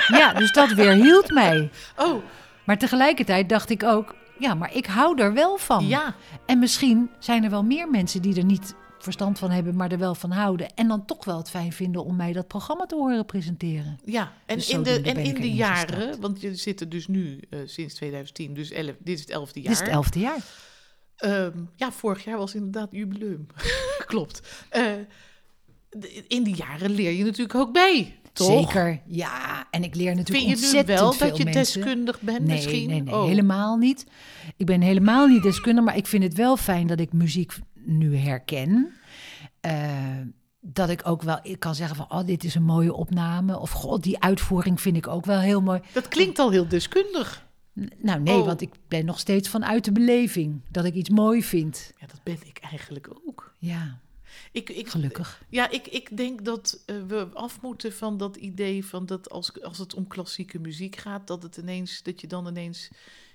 ja, dus dat weerhield mij. Oh, Maar tegelijkertijd dacht ik ook, ja, maar ik hou er wel van. ja. En misschien zijn er wel meer mensen die er niet verstand van hebben, maar er wel van houden. En dan toch wel het fijn vinden om mij dat programma te horen presenteren. Ja, en Dus in de, zodoende en ben ik in de erin jaren, gestapt. want je zit er dus nu eh, sinds 2010, dus 11, dit is het elfde jaar. Dit is het elfde jaar. Ehm, ja, vorig jaar was inderdaad jubileum. Klopt. Eh, de- in die jaren leer je natuurlijk ook bij, toch? Zeker, ja. En ik leer natuurlijk Vind je nu ontzettend wel veel dat je mensen. deskundig bent nee, misschien? Nee, nee, Oh. helemaal niet. Ik ben helemaal niet deskundig, maar ik vind het wel fijn dat ik muziek nu herken. Eh, dat ik ook wel ik kan zeggen van, oh, dit is een mooie opname. Of, god, die uitvoering vind ik ook wel heel mooi. Dat klinkt al heel deskundig. N- Nou nee, Oh. want ik ben nog steeds vanuit de beleving. Dat ik iets mooi vind. Ja, dat ben ik eigenlijk ook. Ja, Ik, ik, gelukkig. Ja, ik, ik denk dat eh, we af moeten van dat idee van dat als, als het om klassieke muziek gaat, dat, het ineens, dat je dan ineens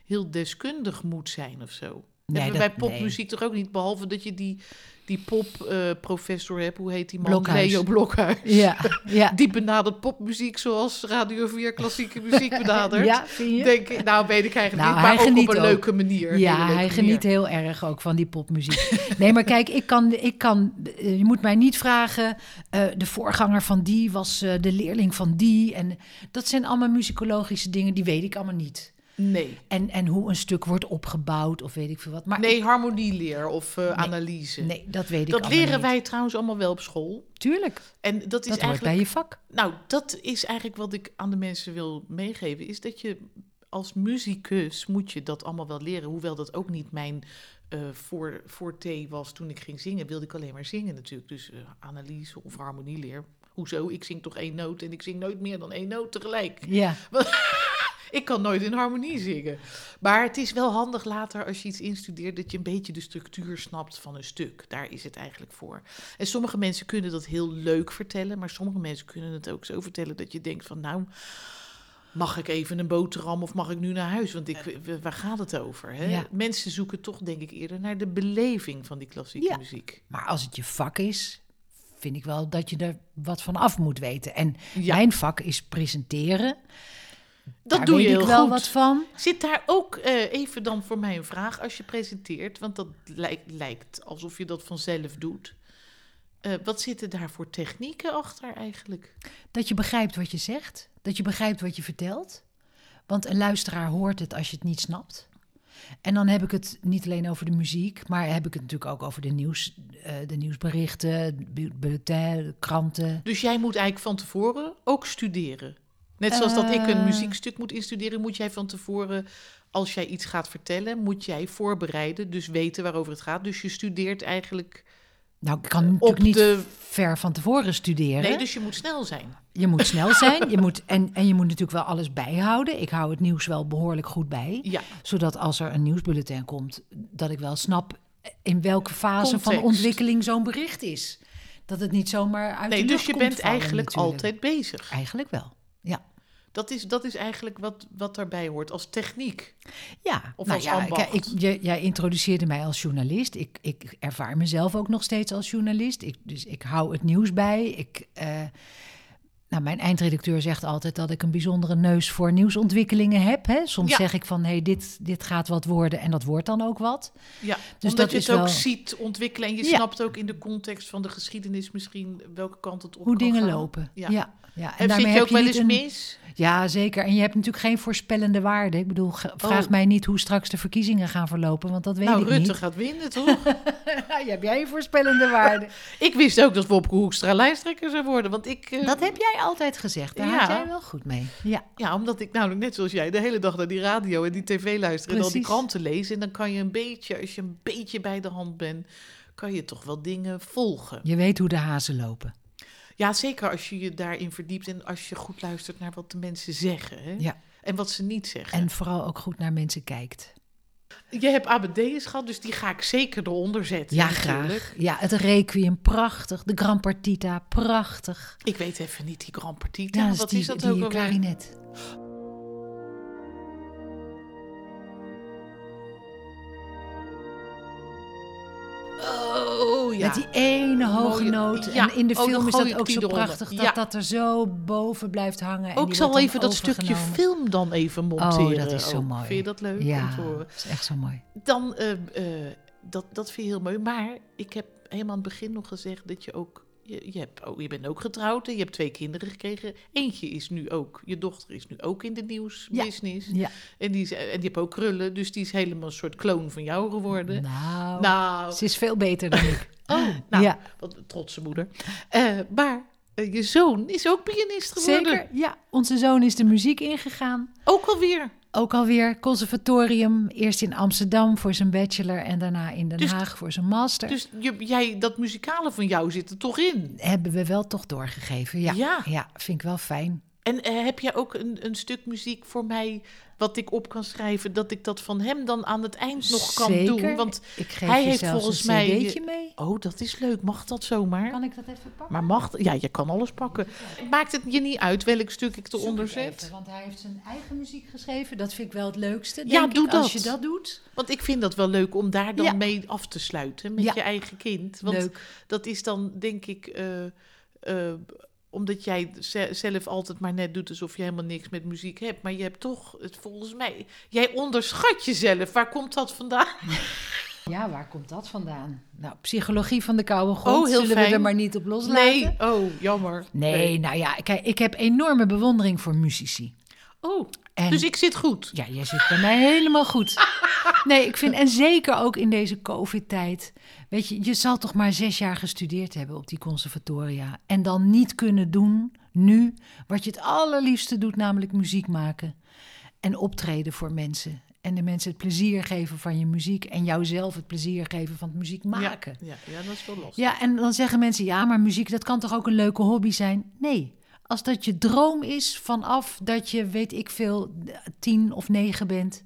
heel deskundig moet zijn of zo. Nee, Hebben we dat- bij popmuziek toch ook niet, behalve dat je die, die popprofessor hebt, hoe heet die man? Blokhuis. Leo Blokhuis. Ja, ja. Die benadert popmuziek zoals Radio 4 klassieke muziek benadert. Ja, vind je? Denk, ik- nou, weet ik eigenlijk niet, Nou, maar hij ook geniet op een ook. leuke manier. een hele Ja, leuke hij manier. geniet heel erg ook van die popmuziek. Nee, maar kijk, ik kan, ik kan, eh, je moet mij niet vragen. eh, de voorganger van die was eh, de leerling van die. En dat zijn allemaal muzikologische dingen, die weet ik allemaal niet. Nee. En, en hoe een stuk wordt opgebouwd of weet ik veel wat. Maar Nee, harmonieleer of eh, analyse. ik- nee, dat weet ik dat allemaal leren niet. wij trouwens allemaal wel op school. Tuurlijk, En dat is dat hoort bij eigenlijk. je vak. Nou, dat is eigenlijk wat ik aan de mensen wil meegeven. Is dat je als muzikus moet je dat allemaal wel leren. Hoewel dat ook niet mijn eh voor, forte was toen ik ging zingen. Wilde ik alleen maar zingen natuurlijk. Dus eh, analyse of harmonieleer. Hoezo? Ik zing toch één noot en ik zing nooit meer dan één noot tegelijk. Ja, Ik kan nooit in harmonie zingen. Maar het is wel handig later als je iets instudeert dat je een beetje de structuur snapt van een stuk. Daar is het eigenlijk voor. En sommige mensen kunnen dat heel leuk vertellen, maar sommige mensen kunnen het ook zo vertellen dat je denkt van nou, mag ik even een boterham of mag ik nu naar huis? Want ik, w- waar gaat het over? Hè? Ja. Mensen zoeken toch denk ik eerder naar de beleving van die klassieke Ja. muziek. maar als het je vak is, vind ik wel dat je er wat van af moet weten. En Ja. mijn vak is presenteren. Dat Daar doe weet je heel ik wel goed. wat van. Zit daar ook eh, even dan voor mij een vraag als je presenteert? Want dat lijk- lijkt alsof je dat vanzelf doet. Eh, wat zitten daar voor technieken achter eigenlijk? Dat je begrijpt wat je zegt, dat je begrijpt wat je vertelt. Want een luisteraar hoort het als je het niet snapt. En dan heb ik het niet alleen over de muziek, maar heb ik het natuurlijk ook over de, nieuws, eh, de nieuwsberichten, bu- bulletin, kranten. Dus jij moet eigenlijk van tevoren ook studeren. Net zoals dat ik een Eh. muziekstuk moet instuderen, moet jij van tevoren, als jij iets gaat vertellen, moet jij voorbereiden, dus weten waarover het gaat. Dus je studeert eigenlijk. Nou, ik kan natuurlijk niet de- ver van tevoren studeren. Nee, dus je moet snel zijn. Je moet snel zijn je moet, en, en je moet natuurlijk wel alles bijhouden. Ik hou het nieuws wel behoorlijk goed bij. Ja. Zodat als er een nieuwsbulletin komt, dat ik wel snap in welke fase van Context. ontwikkeling zo'n bericht is. Dat het niet zomaar uit Nee, de dus lucht je komt bent vallen eigenlijk natuurlijk. altijd bezig. Eigenlijk wel, ja. Dat is, dat is eigenlijk wat, wat daarbij hoort als techniek. Ja, Of nou als ja, ambacht. kijk, ik, je- jij introduceerde mij als journalist. Ik, ik ervaar mezelf ook nog steeds als journalist. Ik, dus ik hou het nieuws bij. Ik, eh, nou, mijn eindredacteur zegt altijd dat ik een bijzondere neus voor nieuwsontwikkelingen heb. Hè? Soms Ja. zeg ik van, hey, dit, dit gaat wat worden en dat wordt dan ook wat. Ja, Dus omdat dat je is het ook wel- ziet ontwikkelen en je Ja. snapt ook in de context van de geschiedenis misschien welke kant het op Hoe kan dingen gaan. lopen. Ja. Ja. Ja. En zit je ook wel niet eens een- mis? Ja, zeker. En je hebt natuurlijk geen voorspellende waarde. Ik bedoel, ge- vraag Oh. mij niet hoe straks de verkiezingen gaan verlopen, want dat weet Nou, ik Rutte niet. gaat winnen, toch? heb jij je voorspellende waarde? ik wist ook dat Wopke Hoekstra lijsttrekker zou worden, want ik... eh, Dat heb jij altijd gezegd. Daar Ja. had jij wel goed mee. Ja. Ja, omdat ik namelijk net zoals jij de hele dag naar die radio en die tv luister en al die Precies. kranten lees. En dan kan je een beetje, als je een beetje bij de hand bent, kan je toch wel dingen volgen. Je weet hoe de hazen lopen. Ja, zeker als je je daarin verdiept en als je goed luistert naar wat de mensen zeggen. Hè? Ja. En wat ze niet zeggen. En vooral ook goed naar mensen kijkt. Je hebt ABD's gehad, dus die ga ik zeker eronder zetten. Ja, natuurlijk. graag. Ja, het Requiem, prachtig. De Gran Partita, prachtig. Ik weet even niet, die Grand Partita. Ja, dat is wat die, is dat die ook alweer? klarinet. Oh ja. Met die ene hoge Mooie- noot. ja, En in de oh, dan film is gooi dat ik ook die zo eronder. prachtig. Ja. Dat dat er zo boven blijft hangen. en Ook die zal wordt dan even dat stukje overgenomen. film dan even monteren. Oh, dat is zo ook. mooi. Vind je dat leuk om Ja, te horen? dat is echt zo mooi. Dan, eh, eh, dat, dat vind je heel mooi. Maar ik heb helemaal aan het begin nog gezegd dat je ook... Je, je, hebt, oh, je bent ook getrouwd en je hebt twee kinderen gekregen. Eentje is nu ook... Je dochter is nu ook in de nieuwsbusiness. Ja. En, die is, en die heeft ook krullen. Dus die is helemaal een soort kloon van jou geworden. Nou, nou, ze is veel beter dan ik. Oh, nou, Ja. wat een trotse moeder. Eh, maar eh, je zoon is ook pianist geworden. Zeker, ja. Onze zoon is de muziek ingegaan. Ook alweer. Ook alweer conservatorium, eerst in Amsterdam voor zijn bachelor en daarna in Den Dus- Haag voor zijn master. Dus je, jij, dat muzikale van jou zit er toch in. Hebben we wel toch doorgegeven, ja. Ja. vind ik wel fijn. En eh, heb jij ook een, een stuk muziek voor mij wat ik op kan schrijven, dat ik dat van hem dan aan het eind nog kan Zeker. doen? Want ik geef hij je heeft zelfs volgens een mij- cd'tje mee. oh, dat is leuk. Mag dat zomaar? Kan ik dat even pakken? Maar mag? Ja, je kan alles pakken. Maakt het je niet uit welk stuk ik Zoek eronder ik even, zet? want hij heeft zijn eigen muziek geschreven. Dat vind ik wel het leukste. Ja, denk doe ik, Als dat. je dat doet. Want ik vind dat wel leuk om daar dan Ja. mee af te sluiten met Ja. je eigen kind. Want Leuk. Dat is dan denk ik, eh, eh, omdat jij ze- zelf altijd maar net doet alsof je helemaal niks met muziek hebt. Maar je hebt toch, het, volgens mij, jij onderschat jezelf. Waar komt dat vandaan? Ja, waar komt dat vandaan? Nou, psychologie van de koude grond. Oh, heel Zullen fijn. we er maar niet op loslaten? Nee, oh, jammer. Nee, nou ja, kijk, ik heb enorme bewondering voor muzici. Oh, En dus ik zit goed. Ja, jij zit bij mij helemaal goed. Nee, ik vind, en zeker ook in deze COVID-tijd. Weet je, je zal toch maar zes jaar gestudeerd hebben op die conservatoria. En dan niet kunnen doen, nu, wat je het allerliefste doet, namelijk muziek maken. En optreden voor mensen. En de mensen het plezier geven van je muziek. En jouzelf het plezier geven van het muziek maken. Ja, ja, ja, dat is wel lastig. Ja, en dan zeggen mensen, ja, maar muziek, dat kan toch ook een leuke hobby zijn? Nee, als dat je droom is vanaf dat je, weet ik veel, tien of negen bent...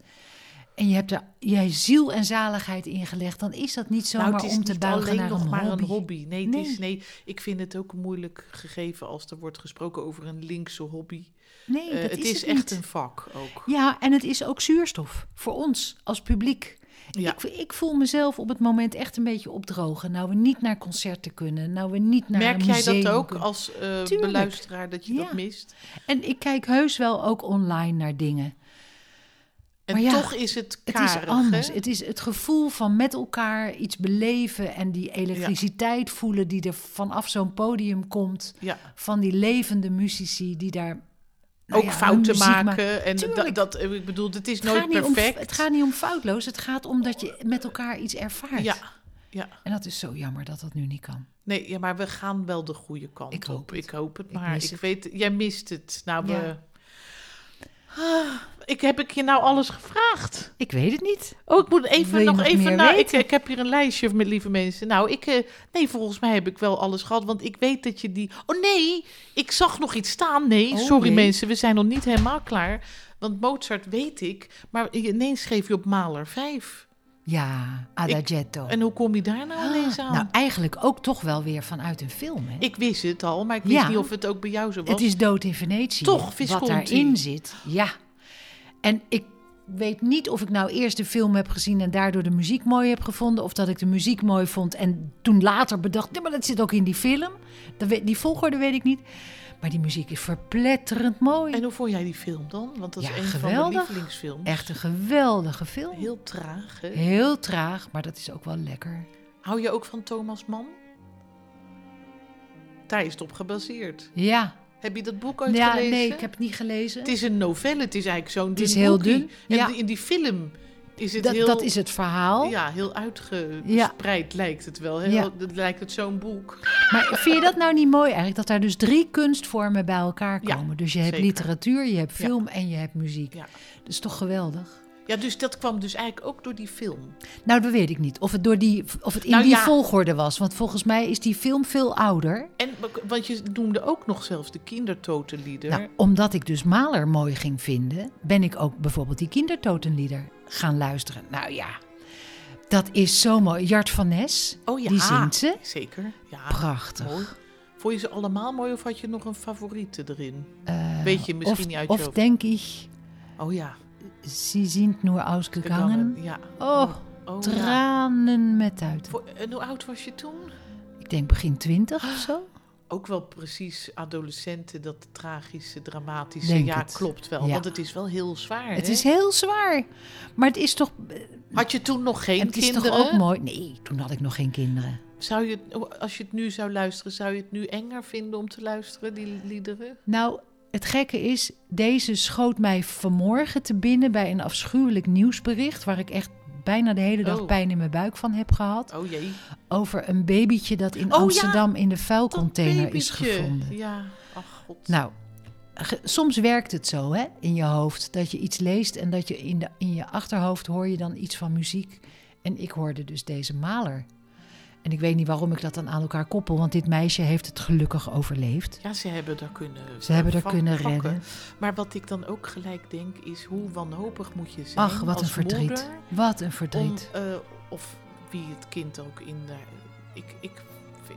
en je hebt er je ziel en zaligheid in gelegd... dan is dat niet zomaar nou, het is om te niet buigen alleen naar nog een maar hobby. een hobby. Nee, het Nee. Is, nee, ik vind het ook een moeilijk gegeven als er wordt gesproken over een linkse hobby. Nee, Eh, dat het is, is, het echt niet. een vak ook. Ja, en het is ook zuurstof voor ons als publiek. Ja. Ik, ik voel mezelf op het moment echt een beetje opdrogen. Nou, we niet naar concerten kunnen. Nou, we niet naar Merk een jij dat museum ook kunnen. als eh, Tuurlijk. beluisteraar dat je dat Ja. mist? En ik kijk heus wel ook online naar dingen. En Maar ja, toch is het Het karig, is anders. Hè? Het is het gevoel van met elkaar iets beleven en die elektriciteit voelen die er vanaf zo'n podium komt. Ja. Van die levende muzici die daar nou ook ja, hun fouten muziek maken. maken. en da- Tuurlijk. dat, eh, ik bedoel, het is Het nooit gaat niet om- perfect. het gaat niet om foutloos, het gaat om dat je met elkaar iets ervaart. ja. Ja. En dat is zo jammer dat dat nu niet kan. Nee, ja, maar we gaan wel de goede kant Ik op. hoop het. Ik hoop het, Ik maar ik, mis het. weet, jij mist het. Nou, we... Ja. Ah, ik heb ik je nou alles gevraagd. Ik weet het niet. Oh, ik moet Wil even je nog, nog even meer nou, ik, weten? ik heb hier een lijstje met lieve mensen. Nou, ik eh, nee, volgens mij heb ik wel alles gehad, want ik weet dat je die. Oh nee, ik zag nog iets staan. Nee, Oh, sorry jee. mensen, we zijn nog niet helemaal klaar. Want Mozart weet ik, maar ineens schreef je op Mahler 5. Ja, Adagietto. En hoe kom je daar nou ineens aan? Nou, eigenlijk ook toch wel weer vanuit een film. Hè? ik wist het al, maar ik wist Ja. niet of het ook bij jou zo was. Het is dood in Venetië. Toch, Wat Visconti. daarin zit, ja. En ik weet niet of ik nou eerst de film heb gezien en daardoor de muziek mooi heb gevonden. Of dat ik de muziek mooi vond en toen later bedacht, nee, maar dat zit ook in die film. Dat weet, die volgorde weet ik niet. Maar die muziek is verpletterend mooi. En hoe vond jij die film dan? Want dat Ja, is een van geweldig. mijn lievelingsfilms. Echt een geweldige film. Heel, Heel traag. Hè? traag, maar dat is ook wel lekker. Hou je ook van Thomas Mann? Daar is het op gebaseerd. Ja, Heb je dat boek ooit ja gelezen? nee, ik heb het niet gelezen. Het is een novelle, het is eigenlijk zo'n dun is heel boekie. dun, En ja. die- in die film is het dat, heel... dat is het verhaal. Ja, heel uitgespreid lijkt het wel. Heel, Ja. dat lijkt het zo'n boek. Maar vind je dat nou niet mooi eigenlijk? Dat daar dus drie kunstvormen bij elkaar Ja, komen. dus je hebt zeker. literatuur, je hebt Ja. film en je hebt muziek. Ja. Dat is toch geweldig? ja, dus dat kwam dus eigenlijk ook door die film. Nou, dat weet ik niet. Of het, door die, of het in Nou die ja. volgorde was. Want volgens mij is die film veel ouder. En, want je noemde ook nog zelfs de kindertotenlieder. Nou, omdat ik dus Maler mooi ging vinden, ben ik ook bijvoorbeeld die kindertotenlieder gaan luisteren. Nou ja, dat is zo mooi. Jart van Nes, oh ja, die zingt ze. Zeker, ja. Prachtig. Mooi. Vond je ze allemaal mooi of had je nog een favoriete erin? Weet je misschien Eh, of, niet uit je Of hoofd. denk ik, Oh ja, ze zingt nur ausgegangen. Gegangen, Ja. Oh, Oh, ja. tranen met uit. Voor- En hoe oud was je toen? Ik denk begin twintig of zo. Ook wel precies adolescenten, dat tragische, dramatische. Denk ja, het. klopt wel. Ja. Want het is wel heel zwaar. Het hè? is heel zwaar. Maar het is toch, Had je toen nog geen het is kinderen? toch ook mooi. Nee, toen had ik nog geen kinderen. Zou je, het- als je het nu zou luisteren, zou je het nu enger vinden om te luisteren, die liederen? Nou, het gekke is, deze schoot mij vanmorgen te binnen bij een afschuwelijk nieuwsbericht. Waar ik echt bijna de hele dag Oh. pijn in mijn buik van heb gehad. Oh jee. Over een babytje dat in ja, Amsterdam in de Dat vuilcontainer is babytje. gevonden. Ja, ach god. Nou, ge- soms werkt het zo hè, in je hoofd. Dat je iets leest en dat je in, de, in je achterhoofd hoor je dan iets van muziek. En ik hoorde dus deze maler. En ik weet niet waarom ik dat dan aan elkaar koppel, want dit meisje heeft het gelukkig overleefd. Ja, ze hebben daar kunnen Ze hebben er vak- kunnen pakken. redden. Maar wat ik dan ook gelijk denk is hoe wanhopig moet je zijn Ach, wat als een verdriet. moeder Wat een om, verdriet. eh, of wie het kind ook in de... Ik, ik,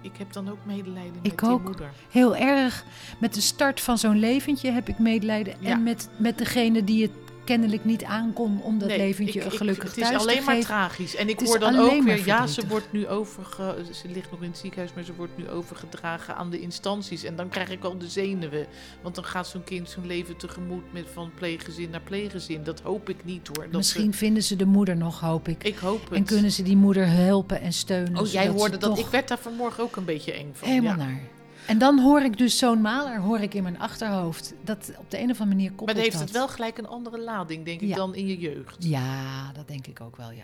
ik heb dan ook medelijden met Ik die ook. moeder. Heel erg. Met de start van zo'n leventje heb ik medelijden. Ja. En met, met degene die het kennelijk niet aankon om dat Nee, leventje ik- ik- gelukkig Het is thuis alleen te maar geven. tragisch. En ik Het is hoor dan alleen ook maar weer, ja, ze verdrietig. wordt nu overge... Ze ligt nog in het ziekenhuis, maar ze wordt nu overgedragen aan de instanties. En dan krijg ik al de zenuwen. Want dan gaat zo'n kind zijn leven tegemoet met van pleeggezin naar pleeggezin. Dat hoop ik niet hoor. Dat ze- Misschien vinden ze de moeder nog, hoop ik. Ik hoop het. En kunnen ze die moeder helpen en steunen. Oh, jij zodat ze hoorde dat. toch Ik werd daar vanmorgen ook een beetje eng van. Helemaal ja. naar. En dan hoor ik dus zo'n maler hoor ik in mijn achterhoofd. Dat op de een of andere manier koppelt Maar dan heeft dat. het wel gelijk een andere lading, denk ik, Ja. dan in je jeugd. Ja, dat denk ik ook wel, ja.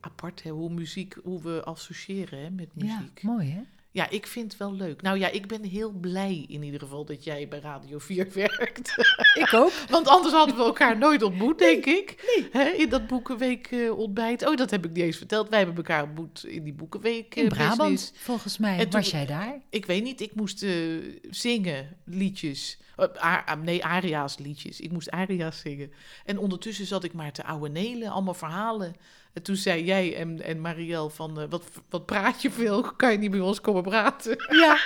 Apart, hè, hoe muziek, hoe we associëren hè, met Ja, muziek. Ja. mooi hè? ik vind het wel leuk. Nou ja, ik ben heel blij in ieder geval dat jij bij Radio 4 werkt. Ik ook. Want anders hadden we elkaar nooit ontmoet, denk ik. Hè, in dat boekenweek eh, ontbijt. Oh, dat heb ik niet eens verteld. Wij hebben elkaar ontmoet in die boekenweek. eh, In Brabant, business. volgens mij. En toen- Was jij daar? Ik weet niet, ik moest eh, zingen, liedjes. Eh, a- a- nee, Aria's liedjes. Ik moest Aria's zingen. En ondertussen zat ik maar te ouwenelen, allemaal verhalen. En toen zei jij en, en Marielle van, eh, wat, wat praat je veel? Kan je niet bij ons komen praten? Ja,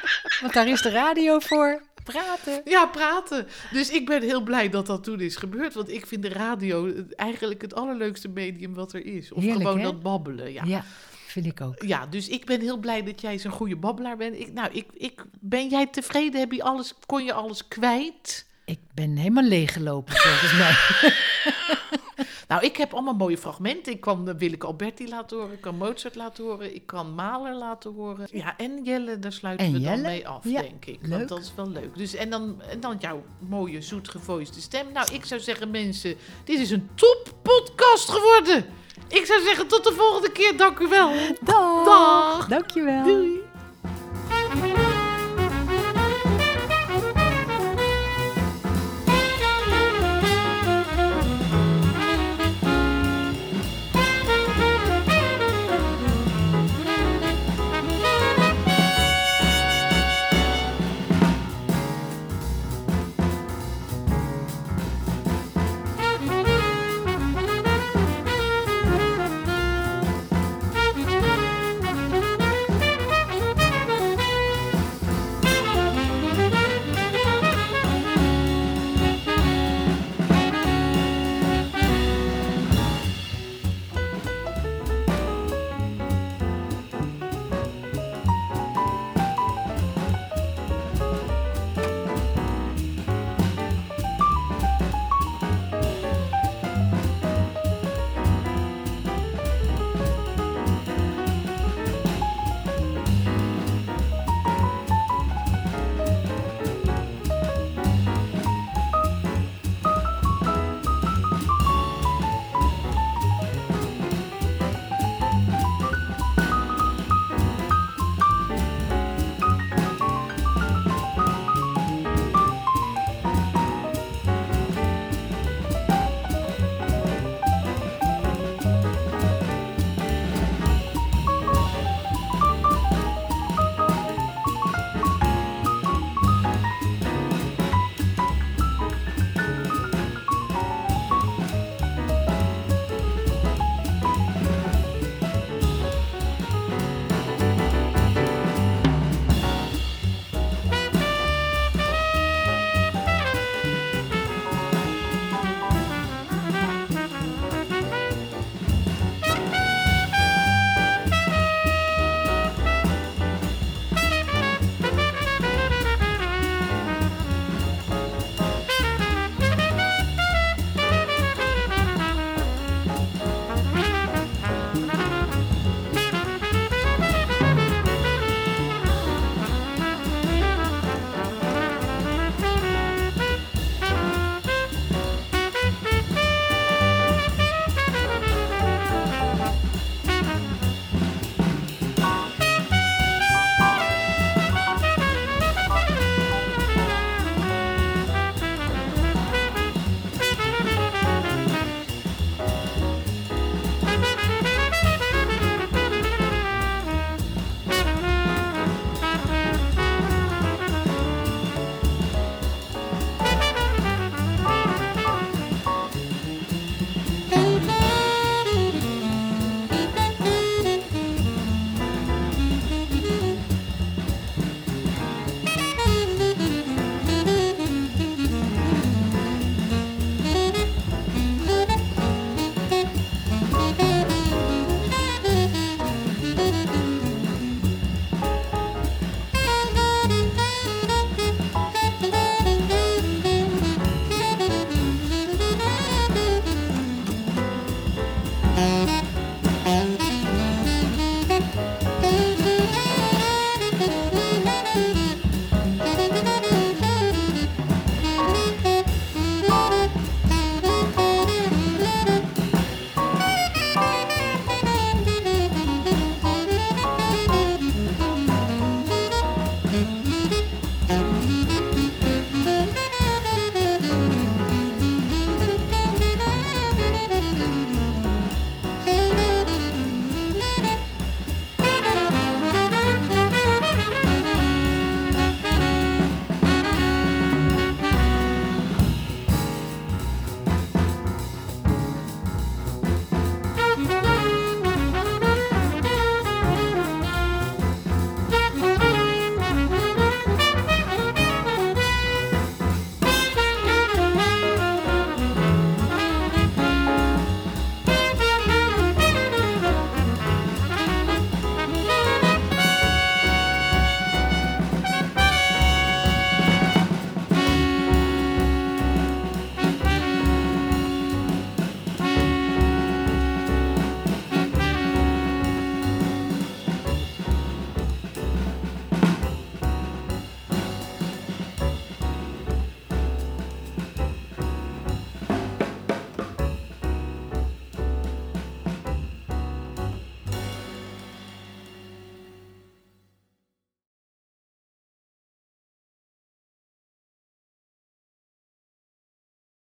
want daar is de radio voor. praten. Ja, praten. Dus ik ben heel blij dat dat toen is gebeurd. Want ik vind de radio eh, eigenlijk het allerleukste medium wat er is. Of Heerlijk, gewoon hè? dat babbelen. Ja. Ja. vind ik ook. Ja, dus ik ben heel blij dat jij zo'n goede babbelaar bent. Ik, nou, ik, ik, ben jij tevreden? Heb je alles, kon je alles kwijt? Ik ben helemaal leeggelopen volgens mij. Nou, ik heb allemaal mooie fragmenten. Ik kan eh, Willeke Alberti laten horen, ik kan Mozart laten horen, ik kan Mahler laten horen. Ja, en Jelle, daar sluiten En we dan Jelle? mee af, Ja, denk ik. leuk. Want dat is wel leuk. Dus, en, dan, en dan jouw mooie, zoetgevoiste stem. Nou, ik zou zeggen, mensen, dit is een top podcast geworden. Ik zou zeggen, tot de volgende keer. Dank u wel. Dag. Dag. Dankjewel. Doei.